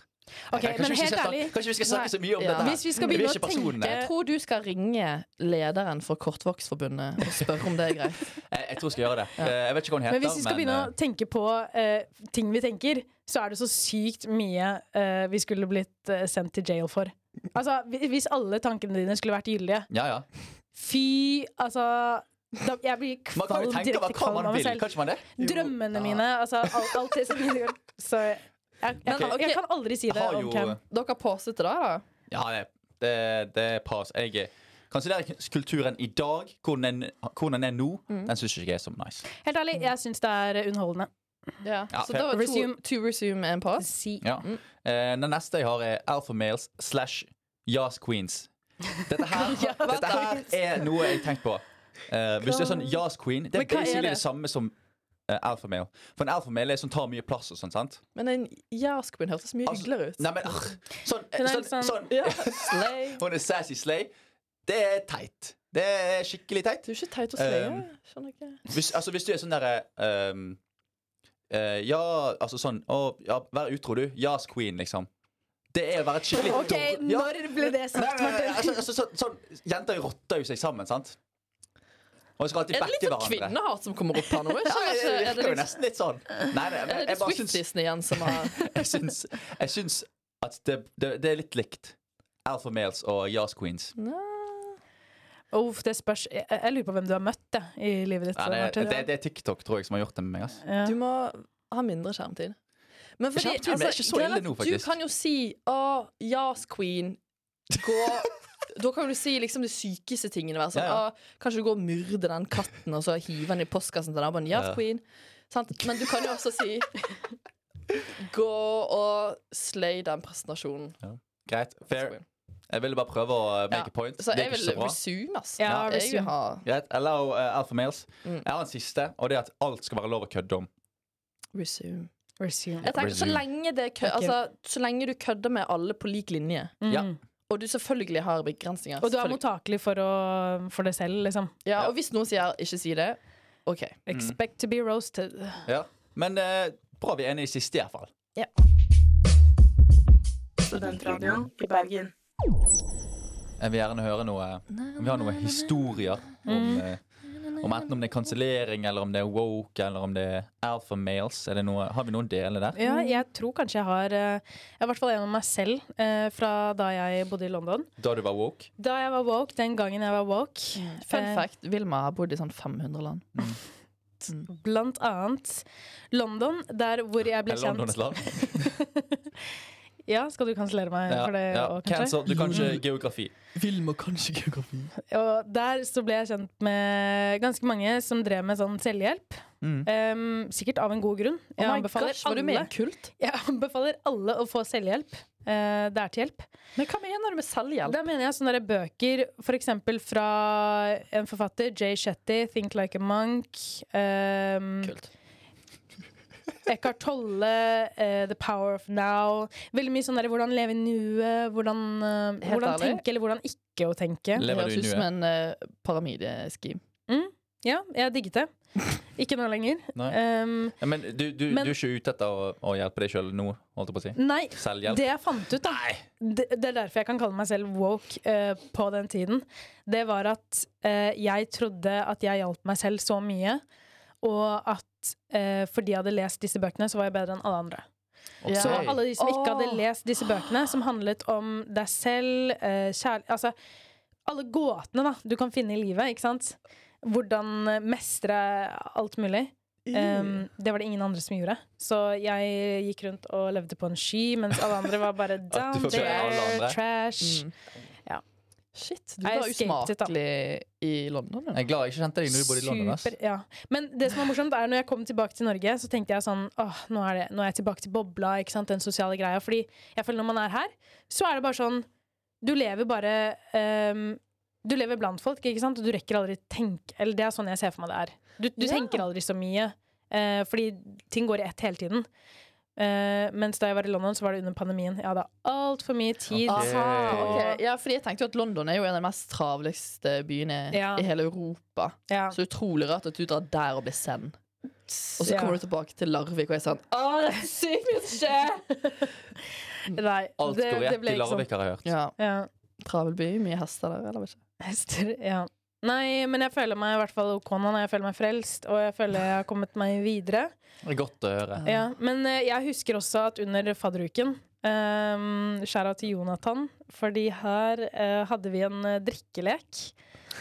Ok, Nei, men kanskje, vi ikke helt skal, ærlig snakke- kanskje vi skal snakke Nei, så mye om ja. dette her. Hvis vi skal Vi er begynne ikke å personene. tenke Jeg tror du skal ringe lederen for Kortvokstforbundet og spørre om det er greit. Jeg, jeg tror jeg skal gjøre det. Eh, Jeg vet ikke hva hun heter. Men hvis vi skal begynne eh, å tenke på eh, ting vi tenker, så er det så sykt mye eh, vi skulle blitt eh, sendt til jail for. Altså, hvi- Hvis alle tankene dine skulle vært gyldige eh, Ja, ja. Fy, altså da, Jeg blir Man kan kvalm, jo tenke direkte over hva kvalm man av meg vil. selv. Kan ikke man det? Drømmene mine, altså alt, alt det som gjør Så jeg, jeg, Men, kan- ok. jeg kan aldri si Jeg det har on cam. jo Dere postet det, da? Ja, det, det, det er pass. Jeg Kanselleringskulturen i dag, hvordan den, hvordan den er nå, Mm. den syns ikke jeg er så nice. Helt ærlig, jeg syns det er underholdende. Ja. Ja, Så da var det to, Resume. to resume and pause? Si. Ja. Eh, den neste jeg har, er Alpha Males slash Yas Queens. Dette her, dette her er noe jeg har tenkt på. Eh, hvis det er sånn Yas Queen, det Men er hva er basically det? det? samme som eh, Alpha Male. For en Alpha Male er sånn, tar mye plass og sånn, sant? Men en jaskbin hørtes mye Altså, hyggeligere ut. Nei, men arr, sånn, eh, Hun er sånn, litt sånn- sånn Ja, slay. Hun er sassy slay. Det er teit. Det er skikkelig teit. Du er ikke teit å slaye. Um, Skjønner ikke. Hvis, altså, hvis du er sånn derre ehm, eh, Ja, altså sånn å, ja, Vær utro, du. Yas queen, liksom. Det er å være et skikkelig OK, dårlig- ja. når ble det Nei, sagt, nei, nei, Martin? altså, altså, sånn, sånn, jenter rotter jo seg sammen, sant? Og skal alltid Er det litt backe sånn hverandre. kvinnehat som kommer opp her nå? Jeg Ja, skjønner det ikke. Er virker det jo liksom nesten litt sånn. Nei, nei, er men det de jeg, bare syns, Swiftisene igjen som har jeg, syns, jeg syns at det, det, det er litt likt. Alpha males og Yas queens. Uff, det spørs. Jeg, jeg lurer på hvem du har møtt det, i livet ditt. Nei, det, Martin. det, det er TikTok, tror jeg, som har gjort det med meg. Ass. Ja. Du må ha mindre skjermtid. Men fordi, Skjermtid, men det er ikke så greia ille at nå, faktisk. Du kan jo si 'Å, yes, queen'. Gå Da kan du si liksom de sykeste tingene. Være sånn, Ja, ja. «Å, Kanskje du går og myrder den katten og så hiver den i postkassen til naboen. Yes, Ja. queen. Sant? Men du kan jo også si Gå og slay den presentasjonen. Greit. Fair. Queen. Jeg ville bare prøve å eh, make Ja, a point. Så det jeg gikk vil ikke så bra. resume, ass. Ja, eh, jeg vil resume. ha Greit, Allow eh, alpha males. Mm. Jeg har en siste, og det er at alt skal være lov å kødde om. resume. Resume. Jeg tenker, så Resume. lenge, det kø Ok. altså, så lenge du kødder med alle på lik linje, Ja. Mm. og du selvfølgelig har begrensninger Og du er selvfølgelig. mottakelig for, å, for det selv, liksom. Ja, Ja. og hvis noen sier ikke si det, OK. Mm. Expect to be roasted. Ja. Men eh, bra vi er enige i siste, i hvert fall. Studentradioen i Bergen. Jeg vil gjerne høre noe Om vi har noen historier om, Mm. eh, om enten om det er kansellering, eller om det er woke, eller om det er alpha males. Er det noe, har vi noen deler der? Ja, jeg tror kanskje jeg har eh, Jeg har i hvert fall en om meg selv eh, fra da jeg bodde i London. Da du var woke? Da jeg var woke, den gangen jeg var woke, Fun Eh, fact, Vilma har bodd i sånn 500 land. blant annet London, der hvor jeg ble Er London et kjent land? Ja, skal du kansellere meg Ja, for det ja. òg, kanskje? Mm. Cancel. Du kan ikke geografi. Vilma kan ikke geografi. Og der så ble jeg kjent med ganske mange som drev med sånn selvhjelp. Mm. Em, sikkert av en god grunn. Oh Jeg my anbefaler, gosh, var du med i alle, en kult? jeg anbefaler alle å få selvhjelp. Eh, det er til hjelp. Men hva mener du med selvhjelp? Da mener jeg sånne der bøker f.eks. fra en forfatter, Jay Shetty, 'Think Like a Monk'. em, Kult. ehm, Eckhart Tolle, eh, The Power of Now. Veldig mye sånn der hvordan leve i nuet, hvordan, eh, Helt hvordan ærlig. tenke eller hvordan ikke å tenke. Det Lever du høres i ut som en nuet? uh, paramideskim. Ja, jeg digget det. Ikke nå lenger. Nei. Um, Ja, Men du, du, Men- du er ikke ute etter å, å hjelpe deg sjøl nå, holdt jeg på å si? nei, Selvhjelp? det jeg fant ut, da det, det er derfor jeg kan kalle meg selv woke eh, på den tiden. Det var at eh, jeg trodde at jeg hjalp meg selv så mye, og at eh, fordi jeg hadde lest disse bøkene, så var jeg bedre enn alle andre. Ok. Ja. Så alle de som ikke hadde Åh. lest disse bøkene, som handlet om deg selv, eh, kjærl... Altså, alle gåtene da, du kan finne i livet, ikke sant? Hvordan eh, mestre alt mulig. Um, det var det ingen andre som gjorde. Så jeg gikk rundt og levde på en sky, mens alle andre var bare down fortjener alle there, andre. Mm. trash. Ja. Shit, du Jeg var escaped it, da. usmakelig i London. Ja. Jeg er glad jeg ikke kjente deg når du bodde i London. Ass. Super, ja. Men det som er morsomt er når jeg kom tilbake til Norge, så tenkte jeg sånn Åh, nå er, det, nå er jeg tilbake til bobla, ikke sant, den sosiale greia. Fordi jeg føler når man er her, så er det bare sånn Du lever bare ehm, Du lever blant folk, ikke sant, og du rekker aldri tenke Eller det er sånn jeg ser for meg det er. Du, du Ja. tenker aldri så mye, eh, fordi ting går i ett hele tiden. Eh, mens da jeg var i London, så var det under pandemien. Jeg hadde altfor mye tid. Ok. på- Ok, Ja, fordi jeg tenkte jo at London er jo en av de mest travleste byene Ja. i hele Europa. Ja. Så utrolig rart at du drar der og blir send. Og så Ja. kommer du tilbake til Larvik og er sånn Å, det er sykt mye som skjer! Nei, Alt det- går det rett ble i ikke sånn. Larvik, har jeg hørt. Ja, Ja. Travel by, mye hester der, eller vet ikke. Hester, ja. Nei, men jeg føler meg i hvert fall ok nå. når Jeg føler meg frelst, og jeg føler jeg har kommet meg videre. Det er godt å høre. Ja. Ja, men eh, jeg husker også at under fadderuken um, Skjæra til Jonathan, fordi her eh, hadde vi en eh, drikkelek.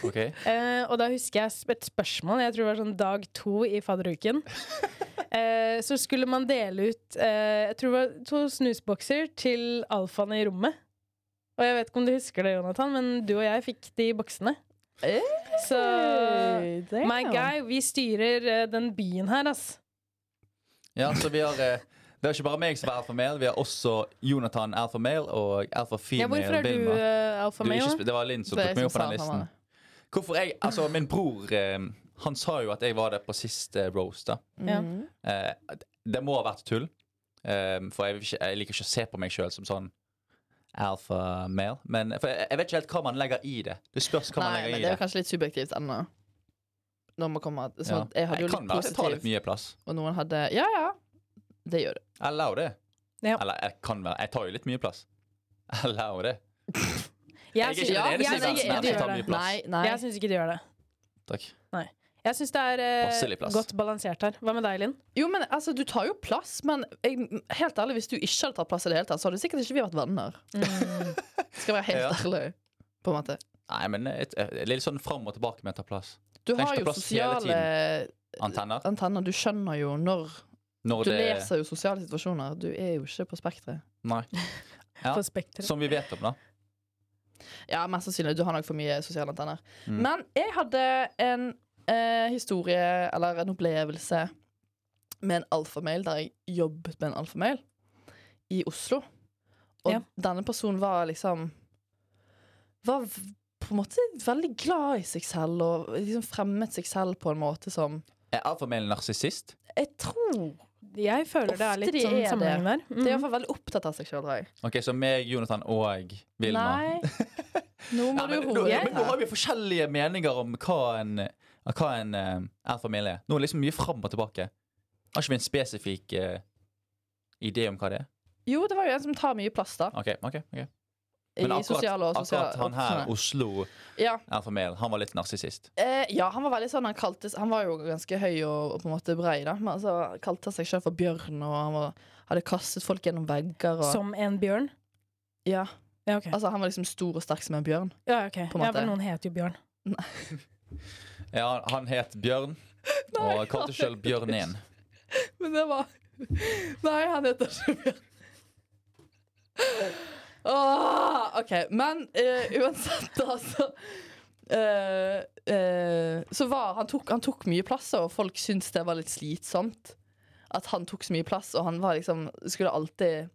Ok. Eh, og da husker jeg sp- et spørsmål, jeg tror det var sånn dag to i fadderuken. Eh, så skulle man dele ut eh, jeg tror det var to snusbokser til alfaene i rommet. Og jeg vet ikke om du husker det, Jonathan, men du og jeg fikk de boksene. Hey, Så damn. my guy, vi styrer eh, den byen her, ass. Ja, så vi har eh, Det er ikke bare meg som er alfa male, vi har også Jonathan alfa male og alfa Ja, female hvorfor er du Vilma. eh, alfa Du er ikke male? sp- det var Linn som Det er tok meg jeg opp på som den sa han listen. var Hvorfor jeg, altså Min bror eh, han sa jo at jeg var der på siste roast. da Ja. Mm. eh, Det må ha vært tull, eh, for jeg, vil ikke, jeg liker ikke å se på meg sjøl som sånn alfa male. Men, for jeg, jeg vet ikke helt hva man legger i det. Det spørs hva man Nei, men legger i det er det. kanskje litt subjektivt ennå. Når man kommer Ja. sånn at Jeg hadde jo Jeg litt kan være at jeg tar litt positiv, mye plass. og noen hadde Ja, ja. Det gjør det. Jeg Allow det. Ja. Eller jeg kan være Jeg tar jo litt mye plass. Jeg Allow det. Jeg er syns- ikke den ja, eneste jeg i verden syns her ikke du som gjør tar mye det. plass. Nei, nei. Jeg syns ikke du gjør det. Takk. Jeg syns det er Passelig eh, plass. godt balansert her. Hva med deg, Linn? Jo, men altså, Du tar jo plass, men jeg, helt ærlig, hvis du ikke hadde tatt plass, i det hele tatt, så hadde sikkert ikke vi vært venner. Mm, Skal være helt Ja. ærlig. På en måte. Nei, men et, et, det er litt sånn fram og tilbake med å ta plass. Du Tenk har på jo plass hele sosiale Antenner. antenner. Du skjønner jo når Når Du det leser jo sosiale situasjoner. Du er jo ikke på spekteret. Nei. Ja. På Spekter? Som vi vet om, da. Ja, mest sannsynlig. Du har nok for mye sosiale antenner. Mm. Men jeg hadde en eh, historie, eller en opplevelse, med en alfamail, der jeg jobbet med en alfamail i Oslo. Og Ja. denne personen var liksom Var v- på en måte veldig glad i seg selv, og liksom fremmet seg selv på en måte som Er alfamelen narsissist? Jeg tror Jeg føler det Ofte er litt de sånn er det. sammenheng der. De er Mm. iallfall veldig opptatt av seg sjøl, tror jeg. Ok, så meg, Jonathan og Vilma. Nei. Nå må Ja, men, du nå, roe ja, deg men nå har ned. vi forskjellige meninger om hva en, eh, hva en eh, alfamil er. Nå er det liksom mye fram og tilbake. Har ikke vi en spesifikk eh, idé om hva det er? Jo, det var jo en som tar mye plass, da. Ok, ok, ok I Men sosiale og akkurat, sosiale akkurat han her, sånne. Oslo Ja. alfamil, han var litt narsissist. Eh, ja, han var veldig sånn han, kalte, han var jo ganske høy og, og på en måte brei, da. Men altså, han kalte seg sjøl for bjørn, og han var, hadde kastet folk gjennom vegger. Og, Som en bjørn? ja, Ja, ok. altså, han var liksom stor og sterk som en bjørn. Ja, ok. på en ja måte. for noen heter jo Bjørn. Ja, han het Bjørn, og kalte seg selv Bjørn 1. Men det var Nei, han heter ikke Bjørn. Åh, OK. Men eh, uansett, altså eh, eh, Så var han tok, han tok mye plass, og folk syntes det var litt slitsomt. At han tok så mye plass, og han var liksom skulle alltid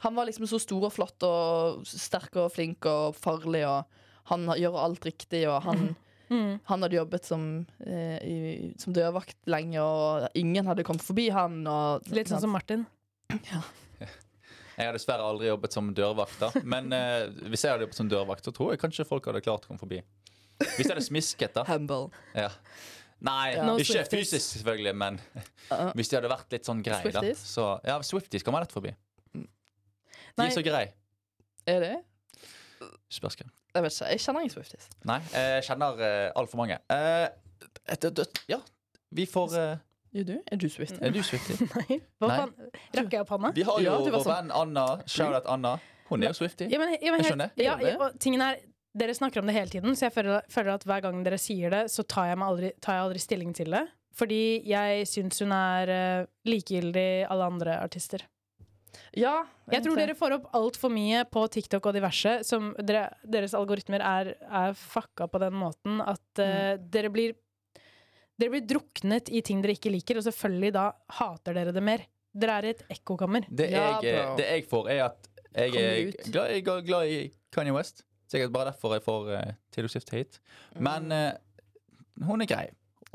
Han var liksom så stor og flott og sterk og flink og farlig, og han gjør alt riktig, og han Mm. Han hadde jobbet som, eh, i, som dørvakt lenge, og ingen hadde kommet forbi han. Og, Litt sånn som Martin. Jeg har dessverre aldri jobbet som dørvakt, da. Men eh, hvis jeg hadde jobbet som dørvakt, så tror jeg kanskje folk hadde klart å komme forbi. Hvis jeg hadde smisket, da. Humble. Ja. Nei, Ja. No ikke Swifties. fysisk, selvfølgelig, men Uh, hvis de hadde vært litt sånn grei, da. Swifties? Så, ja, Swifties kommer rett forbi. De Nei. er så grei. er det? Spørs hvem. Jeg vet ikke, jeg kjenner ingen Swifties. Nei, jeg kjenner uh, altfor mange. Eh, et- et- et- ja, vi får eh, Jo, du? Er du Swiftie? Er du Swiftie? Nei. Hva Nei. faen? Rakk jeg opp handa? Vi har jo Ja, du var vår sånn. venn Anna. Shout-out Anna. Hun er jo Swiftie. Ja, men, ja, men, Jeg helt- skjønner. Ja, Gjør det. og tingen er, dere snakker om det hele tiden, så jeg føler, føler at hver gang dere sier det, så tar jeg, meg aldri, tar jeg aldri stilling til det. Fordi jeg syns hun er eh, likegyldig alle andre artister. Ja. Jeg tror dere får opp altfor mye på TikTok og diverse. Som dere, deres algoritmer er, er fucka på den måten at eh, dere blir Dere blir druknet i ting dere ikke liker, og selvfølgelig da hater dere det mer. Dere er i et ekkokammer. Det, Ja, jeg, bro. det jeg får, er at jeg Kommer er ut. glad, jeg er glad i Kanye West. Sikkert bare derfor jeg får uh, Taylor Swift hit. Mm. Men eh, hun er grei.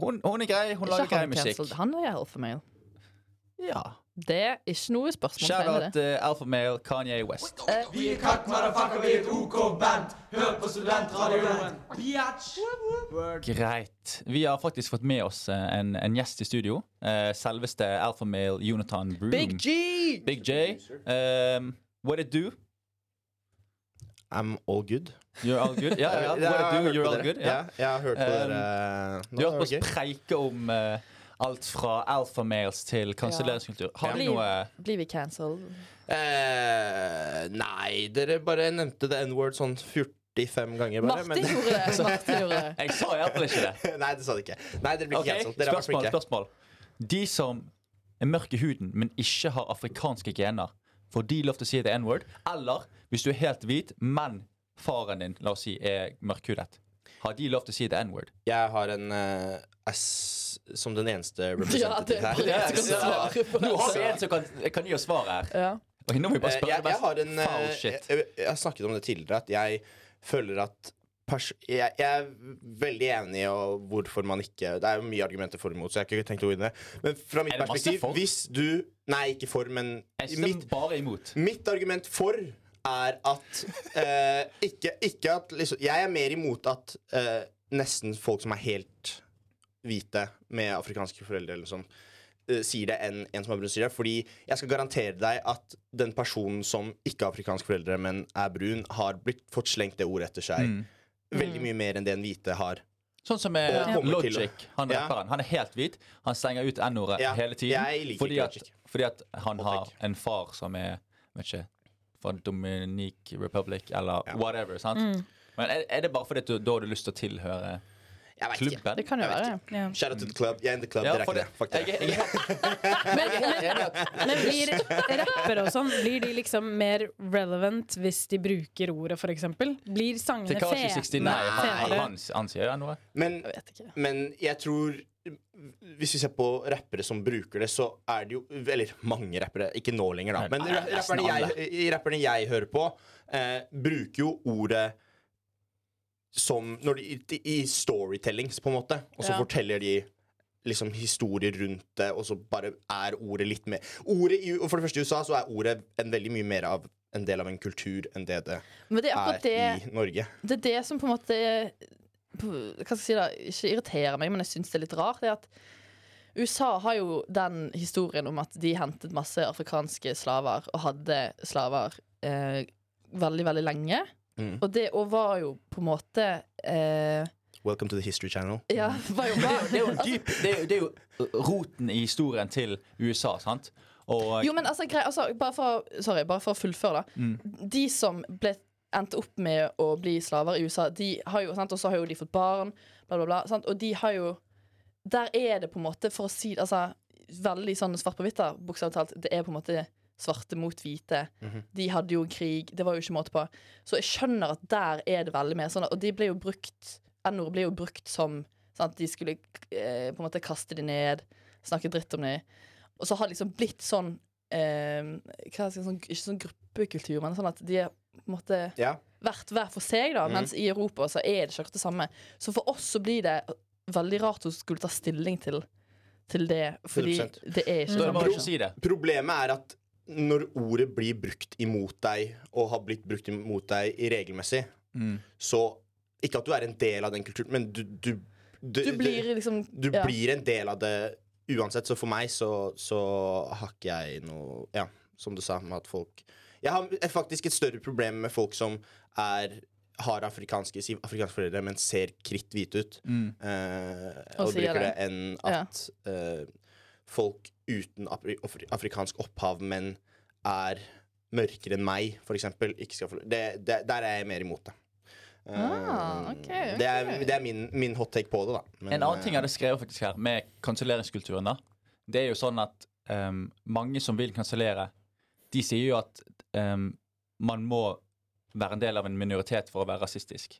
Hun, hun er grei, hun lager grei musikk. Han er alpha male. Ja. Det er ikke noe spørsmål. til Shout-out det. eh, Alpha Male, Kanye West. Greit. Vi har faktisk fått med oss eh, en, en gjest i studio. Eh, selveste Alpha Male Jonathan Broom. Big G! Big J. Um, what it do? I'm all good. You're all good? Ja, ja, Jeg har What it hørt do? You're på all dere. good? Ja, Ja. jeg har hørt på Um, dere. Nå Du har er hørt oss det gøy. preike om eh, alt fra alfamales til kanselleringskultur. Har du Ja. noe Blir vi cancelled? Um, Eh, nei, dere bare nevnte the N-word sånn 45 ganger, bare. Martin gjorde det! Martin gjorde det. Jeg sa iallfall ikke det. men... nei, det sa de ikke. Nei, dere blir Ok, ikke cancelled. Dere var Spørsmål, flinke. spørsmål. De som er mørke i huden, men ikke har afrikanske gener, får de lov til å si the n-word? Eller hvis du er helt hvit, men faren din la oss si, er mørkhudet, har de lov til å si the n-word? Jeg har en eh, ass som den eneste representative det er her. bare jeg som så- svarer på det. Nå har vi en som kan, kan gi oss svar her. Ja. Ok, nå må vi bare Eh, spørre jeg, det jeg beste. har en eh, Foul shit. jeg, jeg har snakket om det tidligere, at jeg føler at pers jeg, jeg er veldig enig i og hvorfor man ikke Det er jo mye argumenter for og imot, så jeg har ikke tenkt å gå inn i det. Men fra mitt Er det masse perspektiv, for? hvis du Nei, ikke for, men Jeg mitt, stemmer bare imot. mitt argument for er at eh, ikke, ikke at liksom Jeg er mer imot at eh, nesten folk som er helt hvite med afrikanske foreldre eller sånn, eh, sier det enn en som er brun sier det. Fordi jeg skal garantere deg at den personen som ikke har afrikanske foreldre, men er brun, har blitt fått slengt det ordet etter seg Mm. veldig mye mer enn det en hvite har. Sånn som med Og kommer til å- Logic. Han Ja. rapperen. Han er helt hvit. Han stenger ut N-ordet Ja, hele tiden. jeg liker fordi, ikke at, Logic. fordi at han Og har Drake. en far som er vet ikke, fra Dominique Republic eller Ja. whatever. sant? Mm. Men er, er det bare fordi at du, da har du lyst til å tilhøre Jeg vet ikke. Det klubben? kan jo Jeg vet være. Ja. Shout out to the club. Jeg er in the club, Ja, dere er for ikke det. det- Fuck dere. Jeg, jeg, jeg, Men, men, men blir rappere og sånn Blir de liksom mer relevant hvis de bruker ordet, for eksempel? Blir sangene Tekashi 69. fetende? Han, han, fetende? han, han sier jo N-ordet. Men, Jeg vet ikke. men jeg tror hvis vi ser på rappere som bruker det, så er det jo Eller mange rappere, ikke nå lenger, da. Men Nei, ra- nesten rapperne jeg, rapperne jeg hører på, eh, bruker jo ordet som når de, i, I storytellings, på en måte. Og så Ja. forteller de liksom historier rundt det, og så bare er ordet litt mer Ordet i, og For det første i USA så er ordet en veldig mye mer av en del av en kultur enn det det Men det er akkurat er det i Norge. det er det som på en måte på- Hva skal jeg si da, ikke irriterer meg, men jeg syns det er litt rart. Det er at USA har jo den historien om at de hentet masse afrikanske slaver og hadde slaver eh, veldig, veldig lenge. Mm. Og det og var jo på en måte eh, Welcome to the History Channel. Ja, var jo, Det er jo- det er jo dyp det er, jo- det er jo roten i historien til USA, sant? Og Jo, men altså, grei, altså bare, for, å- sorry, bare for å fullføre, da. De som ble, endte opp med å bli slaver i USA, de har jo, sant, og så har jo de fått barn, bla, bla, bla. Sant, og de har jo Der er det på en måte, for å si det altså, veldig sånn svart på hvitt, da, bokstavelig talt, det er på en måte svarte mot hvite. De hadde jo krig, det var jo ikke måte på. Så jeg skjønner at der er det veldig mer sånn, og de ble jo brukt N-ord ble jo brukt som sant, De skulle eh, på en måte kaste de ned, snakke dritt om de. Og så har det liksom blitt sånn eh, hva skal jeg si, sånn, Ikke sånn gruppekultur, men sånn at de er på en måte Ja. Mhm. vært hver for seg, da, mens i Europa så er det ikke akkurat det samme. Så for oss så blir det veldig rart å skulle ta stilling til, til det, fordi 100%. det er ikke Da er det samme. bare å si det. Problemet er at når ordet blir brukt imot deg, og har blitt brukt imot deg regelmessig, Mm. så Ikke at du er en del av den kulturen, men du Du, du, Du blir liksom eh, du ja. blir en del av det uansett. Så for meg så, så har ikke jeg noe Ja, som du sa, med at folk Jeg har faktisk et større problem med folk som er har afrikanske, si afrikanske foreldre, men ser kritthvite ut. Mm. eh, Og og sier bruker det det. enn at eh, folk uten afri afri- afrikansk opphav, men er mørkere enn meg, for eksempel, ikke skal få det, det, Der er jeg mer imot det. Eh, Ah, ok, ok. Det er, det er min, min hot take på det, da. Men, En annen ting jeg eh, hadde skrevet faktisk her, med kanselleringskulturen, da. Det er jo sånn at ehm, mange som vil kansellere, de sier jo at ehm, man må være en del av en minoritet for å være rasistisk.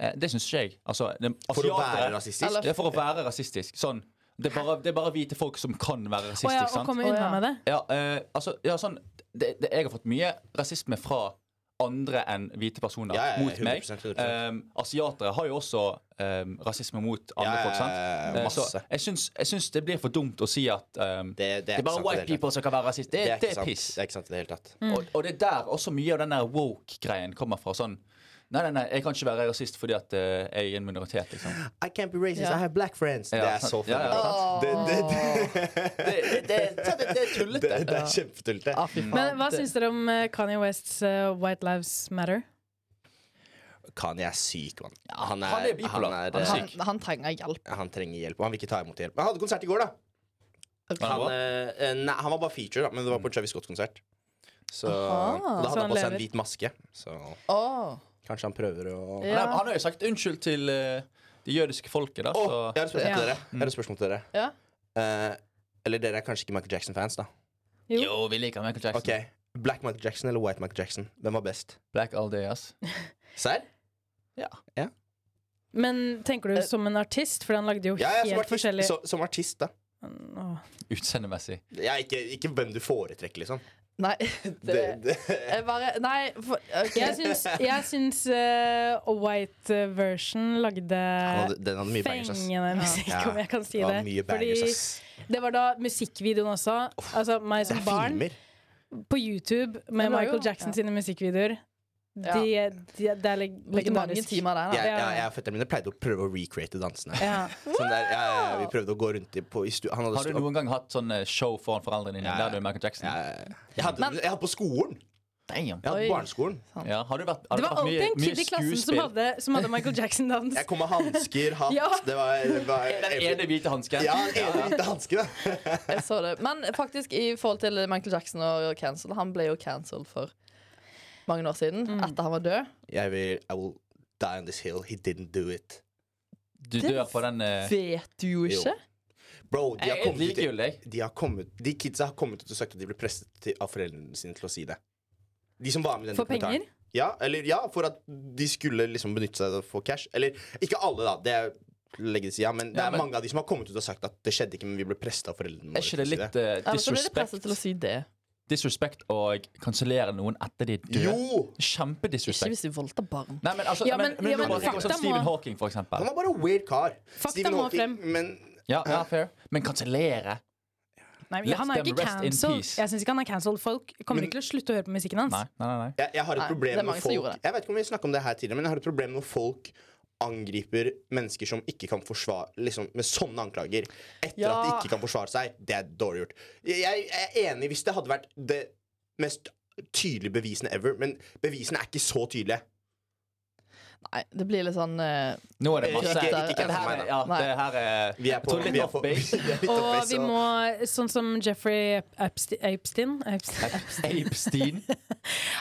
Eh, det syns ikke jeg. Altså, det, For å være asiatere- rasistisk? Eller- Det er for å være rasistisk. Sånn. Det er bare, det er bare hvite folk som kan være Å rasistiske, ja, og sant? komme Å, unna ja. med det. Ja, eh, altså, ja, sånn det, det, Jeg har fått mye rasisme fra andre enn hvite personer Ja, ja, ja, mot meg. 100%, 100%. Um, asiatere har jo også um, rasisme mot andre Ja, ja, folk, sant? ja, ja, Eh, masse. så jeg syns, jeg syns det blir for dumt å si at um, det, Det, det er ikke bare sant i white det hele tatt. people som kan være rasist. Det, det, ikke er sant. piss. Det er ikke sant i det hele tatt. Mm. Og, og det er der også mye av den der woke-greien kommer fra. Sånn Nei, nei, nei, jeg kan ikke være rasist fordi at eh, jeg er en minoritet, liksom. I can't be racist, Ja. I have black friends. Ja, det er sant. så Ja, ja, fint. sant. Det, Det, det, det, det, det, det er det, tullete. det er kjempetullete. Ah, fy faen. Men hva det- syns dere om eh, Kanye Wests eh, White Lives Matter? Kanye er syk, mann. han er bipolar. Han, Han er er, han, han trenger hjelp. han, han trenger hjelp. og Han vil ikke ta imot hjelp. Men Han hadde konsert i går, da. Var det Han, bra? eh, nei, han var bare feature, da, men det var Mm. på en Travis Scott-konsert. Så, Aha. og da Så hadde han han på seg en lever. hvit maske. Så Åh. kanskje han prøver å Ja. Han har- Han har jo sagt unnskyld til eh, det jødiske folket, da. Å, så jeg har et spørsmål Ja. Mm. til dere. Jeg har et spørsmål til dere. Ja. Eh, eller dere er kanskje ikke Michael Jackson-fans, da. Jo. Jo, vi liker Michael Jackson. Ok, Black Michael Jackson eller White Michael Jackson? Hvem var best? Black all day, ass. Serr? Men tenker du som en artist? For han lagde jo Eh, Ja, ja, som, helt artist, forskjellige så, som artist, da. Åh. Utseendemessig. Ja, ikke, ikke hvem du foretrekker, liksom. Nei, det, Det, det, jeg bare Nei, for, ok. Jeg syns, jeg syns eh, White eh, Version lagde Han hadde- den hadde mye bangers, ass. fengende musikk, Ja. om jeg kan si det var det. mye bangers, ass. Fordi det var da musikkvideoen også. Altså meg Det som er barn, filmer. på YouTube Det med var jo- Michael Jackson ja. sine musikkvideoer. Ja. De, de, det er leg- Bruker mange legendarisk. timer der, da. Jeg, ja. jeg, jeg og fetterne mine pleide å prøve å recreate dansene. Ja. Sånn der, ja, ja, ja, vi prøvde å gå rundt i, på, i stu, Han hadde Har du stu- noen gang hatt sånn eh, show foran foreldrene dine? Ja, ja. Der du er Michael Jackson? Ja, ja, ja. jeg, hadde, jeg hadde på skolen! Damn. Jeg hadde Oi. på barneskolen. Ja, har du vært, Det har du var vært alltid mye, en kid i mye klassen som skuespill? hadde, som hadde Michael Jackson-dans. Jeg kom med hansker, hatt Ja. Det var, det var Den ene hvite hansken? Ja, den ene hvite hanske, da. Jeg så det. Men faktisk, i forhold til Michael Jackson og cancel, han ble jo cancelled for mange år siden. Etter han var død. Jeg vil I will die on this hill. He didn't do it. Du dør på den eh, Vet du jo Jo. ikke. Bro, de har Jeg kommet ut liker jo deg. de, har kommet, de kidsa har kommet ut og sagt at de ble presset til, av foreldrene sine til å si det. De som var med i den For penger? dokumentaren. Ja, eller, ja, for at de skulle liksom benytte seg av å få cash. Eller ikke alle, da. Det legger til sida. Men det Ja, er men- mange av de som har kommet ut og sagt at det skjedde ikke, men vi ble presset av foreldrene Er ikke det til å si litt eh, Ja, men så ble de presset disrespect? til å si det. Disrespect å kansellere noen etter de er døde? Jo! Ikke Kjempedisrespect. hvis de voldtar barn. Nei, men altså, Ja, men, men- men, ja, men nå bare tenk på fakta sånn Stephen må- Hawking, for Han eksempel. var bare en weird kar. Fakta Stephen må Hawking, frem. Men Ja, ja, fair. Men kansellere? Nei, men Let han er them ikke rest in cancelled. peace. Jeg syns ikke han er cancelled. Folk kommer Men- ikke til å slutte å høre på musikken hans. Nei, nei, nei. nei. jeg, jeg har et Nei, det problem er når mange som folk gjorde det. Jeg vet ikke om vi snakket om det her tidligere, men jeg har et problem når folk angriper mennesker som ikke kan forsvare liksom, Med sånne anklager. Etter Ja. at de ikke kan forsvare seg. Det er dårlig gjort. Jeg, jeg er enig hvis det hadde vært det mest tydelige bevisene ever, men bevisene er ikke så tydelige. Nei, det blir litt sånn eh, Nå er det Ikke- masse ikke Det cancel her meg, er- da. ja, Nei. det her er Vi er på, Jeg tror litt vi er off på, base. vi er litt off Og base, vi og- må, sånn som Jeffrey Ep- Epste- Epstein, Epstein Apestein.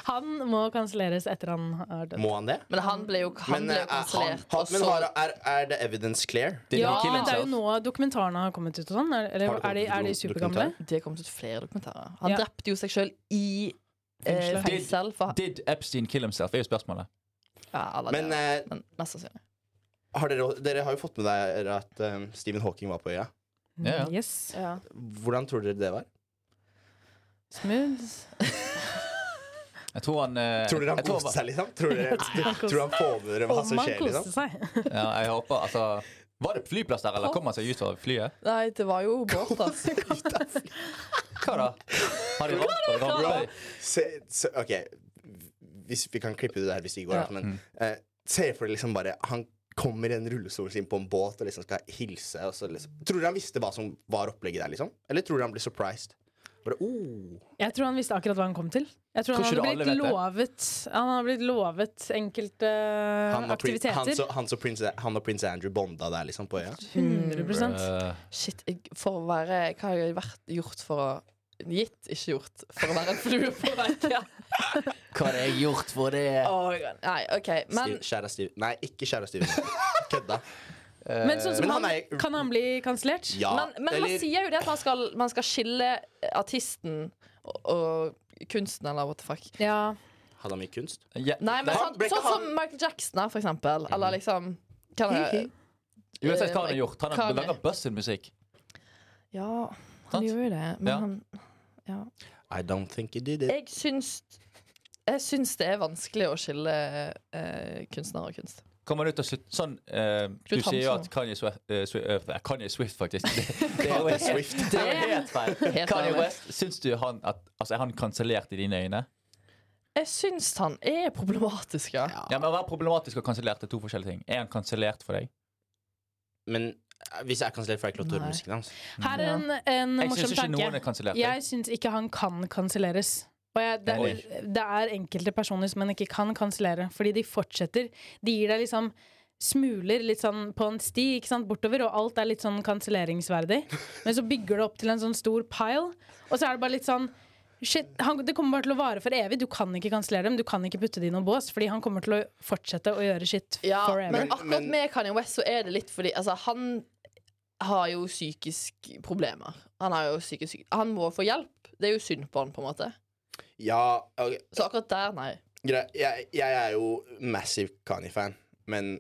Han må kanselleres etter han har dødd. må han det? Men han ble jo han Men, ble eh, jo er han, kansellert. han, og men så- har, er, er det evidence clear? Did Ja, he kill men det er jo himself? nå dokumentarene har kommet ut og sånn. Eller, Har eller det kommet er de, ut er de do- supergamle? Det kom ut flere dokumentarer. Han Ja. drepte jo seg sjøl i eh, Fengselet. fengsel. For, Did Epstein kill himself? Det er jo spørsmålet. ja, eller Men det, eh, men mest sannsynlig. har dere, dere har jo fått med dere at eh, Stephen Hawking var på øya. Ja, ja. Yes. Ja. Hvordan tror dere det var? Smooth. Jeg tror han eh, Tror dere han jeg tror- koste seg, liksom? Tror dere tror han får med dere hva Om som han skjer, liksom? koste seg. Ja, jeg håper, altså Var det flyplass der, eller kom han seg ut fra flyet? Nei, det var jo båt, altså. da. Hva da? Har de rampa? rampa i? Se, se, ok, hvis vi kan klippe det der hvis det ikke går, Ja. altså, men eh, se for deg liksom bare Han kommer i en rullestol sin på en båt og liksom skal hilse. Og så liksom. Tror dere han visste hva som var opplegget der, liksom? Eller tror dere han ble surprised? Bare, oh. Jeg tror han visste akkurat hva han kom til. Jeg tror han Tror ikke hadde blitt alle vet det. lovet Han hadde blitt lovet enkelte han, og prin, han, Eh, aktiviteter. så, han, så prins, han og prins Andrew bonda der, liksom, på øya. 100 Eh, Shit, jeg, for å være Hva har jeg vært, gjort for å Gitt, ikke gjort. For å være en flue på veggen. Hva har jeg gjort for det? Oh my God. Nei, OK. Men Steve, kjære Steve. Nei, ikke kjære Steve. Kødda. Men sånn som Mm. Men han han, er- kan han bli kansellert? Ja. men, men man eller- sier jo det at man skal, man skal skille artisten og, og kunsten, eller what the fuck. Ja. Hadde han mye kunst? Eh, Ja, Mhm. Nei, men Nei, sånn, ble ikke sånn han- som Michael Jackson, da, for eksempel. Eller liksom kan jeg, uansett hva han har gjort. Han Hva har mer? laga bussin musikk. Ja, Sant? han gjorde jo det. Men Ja. han I don't think he did it. Jeg syns jeg syns det er vanskelig å skille eh, kunstner og kunst. Kommer ut og slutt, sånn, eh, du Knut sier jo at Hamsun. Kanye Swift, eh, Swi- eh, Kanye Swift faktisk Det, det er jo helt, Swift. det er jo helt feil. Helt Kanye ærlig. West, syns du han at, altså, er han kansellert i dine øyne? Jeg syns han er problematisk, ja. Ja, men Å være problematisk og kansellert er to forskjellige ting. Er han kansellert for deg? Men eh, hvis jeg er kansellert, får jeg ikke lov til Nei. å høre musikken hans. Her er en, en Jeg morsom syns ikke noen tanke. er kansellert. jeg. Jeg syns ikke han kan kanselleres. Og jeg, det, Oi. det er enkelte personer som han ikke kan kansellere, fordi de fortsetter. De gir deg liksom smuler litt sånn på en sti ikke sant, bortover, og alt er litt sånn kanselleringsverdig. Men så bygger det opp til en sånn stor pile, og så er det bare litt sånn Shit, han, det kommer bare til å vare for evig. Du kan ikke kansellere dem. Du kan ikke putte det i noen bås, fordi han kommer til å fortsette å gjøre shit ja forever. men akkurat Men- med Kanye West så er det litt fordi altså, han har jo psykiske problemer. Han, har jo psykisk, han må få hjelp. Det er jo synd på han, på en måte. Ja, ok, Så akkurat der, nei. greit. Jeg, jeg er jo massive Kani-fan, men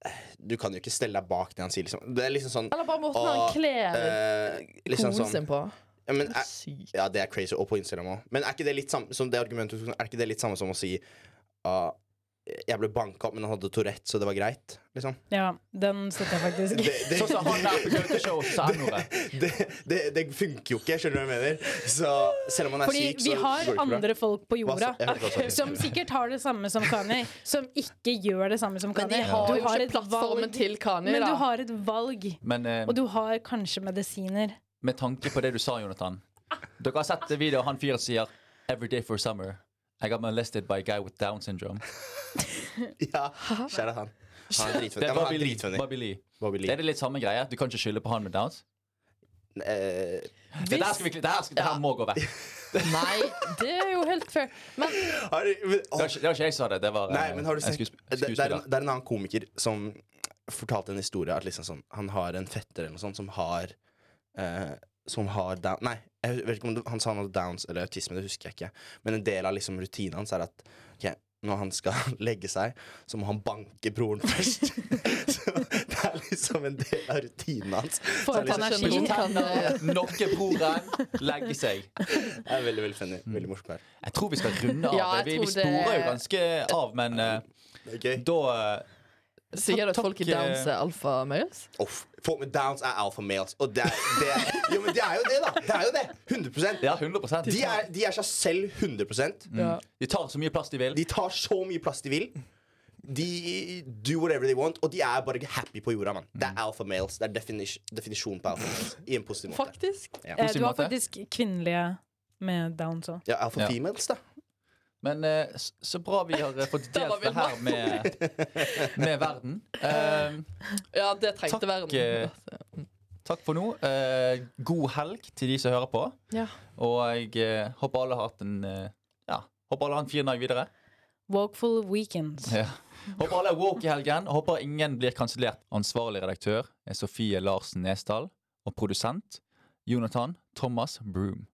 eh, du kan jo ikke stelle deg bak det han sier, liksom. Det er liksom sånn Eller bare måten Og, han kler eh, liksom konen sånn sin på. ja, men, eh, er, Sykt. ja, det er crazy, og på Instagram òg. Men er ikke det litt samme som det argumentet Er ikke det litt samme som å si ah, jeg ble banka opp, men han hadde Tourette, så det var greit. Liksom. Ja, den støtter jeg faktisk. Det, det, Sånn som han der på Gauteshow sa N-ordet. det, det, det funker jo ikke, skjønner du hva jeg mener? Så selv om han er Fordi syk, så vi går det har ikke bra. andre folk på Hva jorda sa- jeg hørte hva sa du? som sikkert har det samme som Kanye, som ikke gjør det samme som Men de Kanye. har jo ikke et plattformen valg, til Kanye, men da. du har et valg, Men eh, og du har kanskje medisiner. med tanke på det du sa, Jonathan Dere har sett videoen han fyren sier 'Every day for summer'. I got molested by a guy with Down syndrome. Ja, kjære han. Han er Det dritfunny. er Ja, men han Bobby er Lee. dritfunny. Bobby Lee. Bobby Det Lee. er det litt samme greie. Du kan ikke skylde på han med Downs. Eh, Det, der skal vi, det, her, skal, det her må gå vekk. Nei, det er jo helt fair. Men har du, men, Det å, var ikke, det var ikke jeg som sa det. Det var eh, nei, men har du en sett det, skuesp- det, er en, skuespiller. det er en annen komiker som fortalte en historie at liksom sånn, han har en fetter eller noe sånt som har eh, Som har down Nei, jeg vet ikke om det, han sa han hadde downs eller autisme, det husker jeg ikke. Men en del av liksom rutinen hans er at ok, når han skal legge seg, så må han banke broren først. så det er liksom en del av rutinen hans. Så Får han opp liksom, skjønner energi. ikke han, eh, Nokke broren, legge seg. det er veldig, veldig funny. Mm. Veldig morsomt. her. Jeg tror vi skal runde av. Ja, jeg vi, tror vi det- sporer jo ganske av, men eh, Det er gøy. da eh, sier du at Takk, folk i eh, Downs er alfamøyes? Off. Folk med downs er alpha males. Og det er, det er, jo, men det er jo det, da! Det er jo det! 100 Ja, 100 De er, de er seg selv 100 mm. De tar så mye plass de vil. De tar så mye plass de vil. De do whatever they want, og de er bare happy på jorda. Man. Det er alpha males. Det er definis definisjonen på alpha males i en positiv måte. Faktisk. Eh, Du har måte. faktisk kvinnelige med downs òg. Ja, alpha Ja. females, da. Men eh, s- så bra vi har eh, fått Da var delt vi det her med, med verden. Eh, Ja, det trengte Takk, eh, verden. takk for nå. Eh, god helg til de som hører på. Ja. Og jeg eh, håper alle har hatt en eh, Ja, håper alle har en fin dag videre. Walkful weekends. Ja. Håper alle er woke i helgen. Håper ingen blir kansellert. Ansvarlig redaktør er Sofie Larsen Nesdal. Og produsent Jonathan Thomas Broom.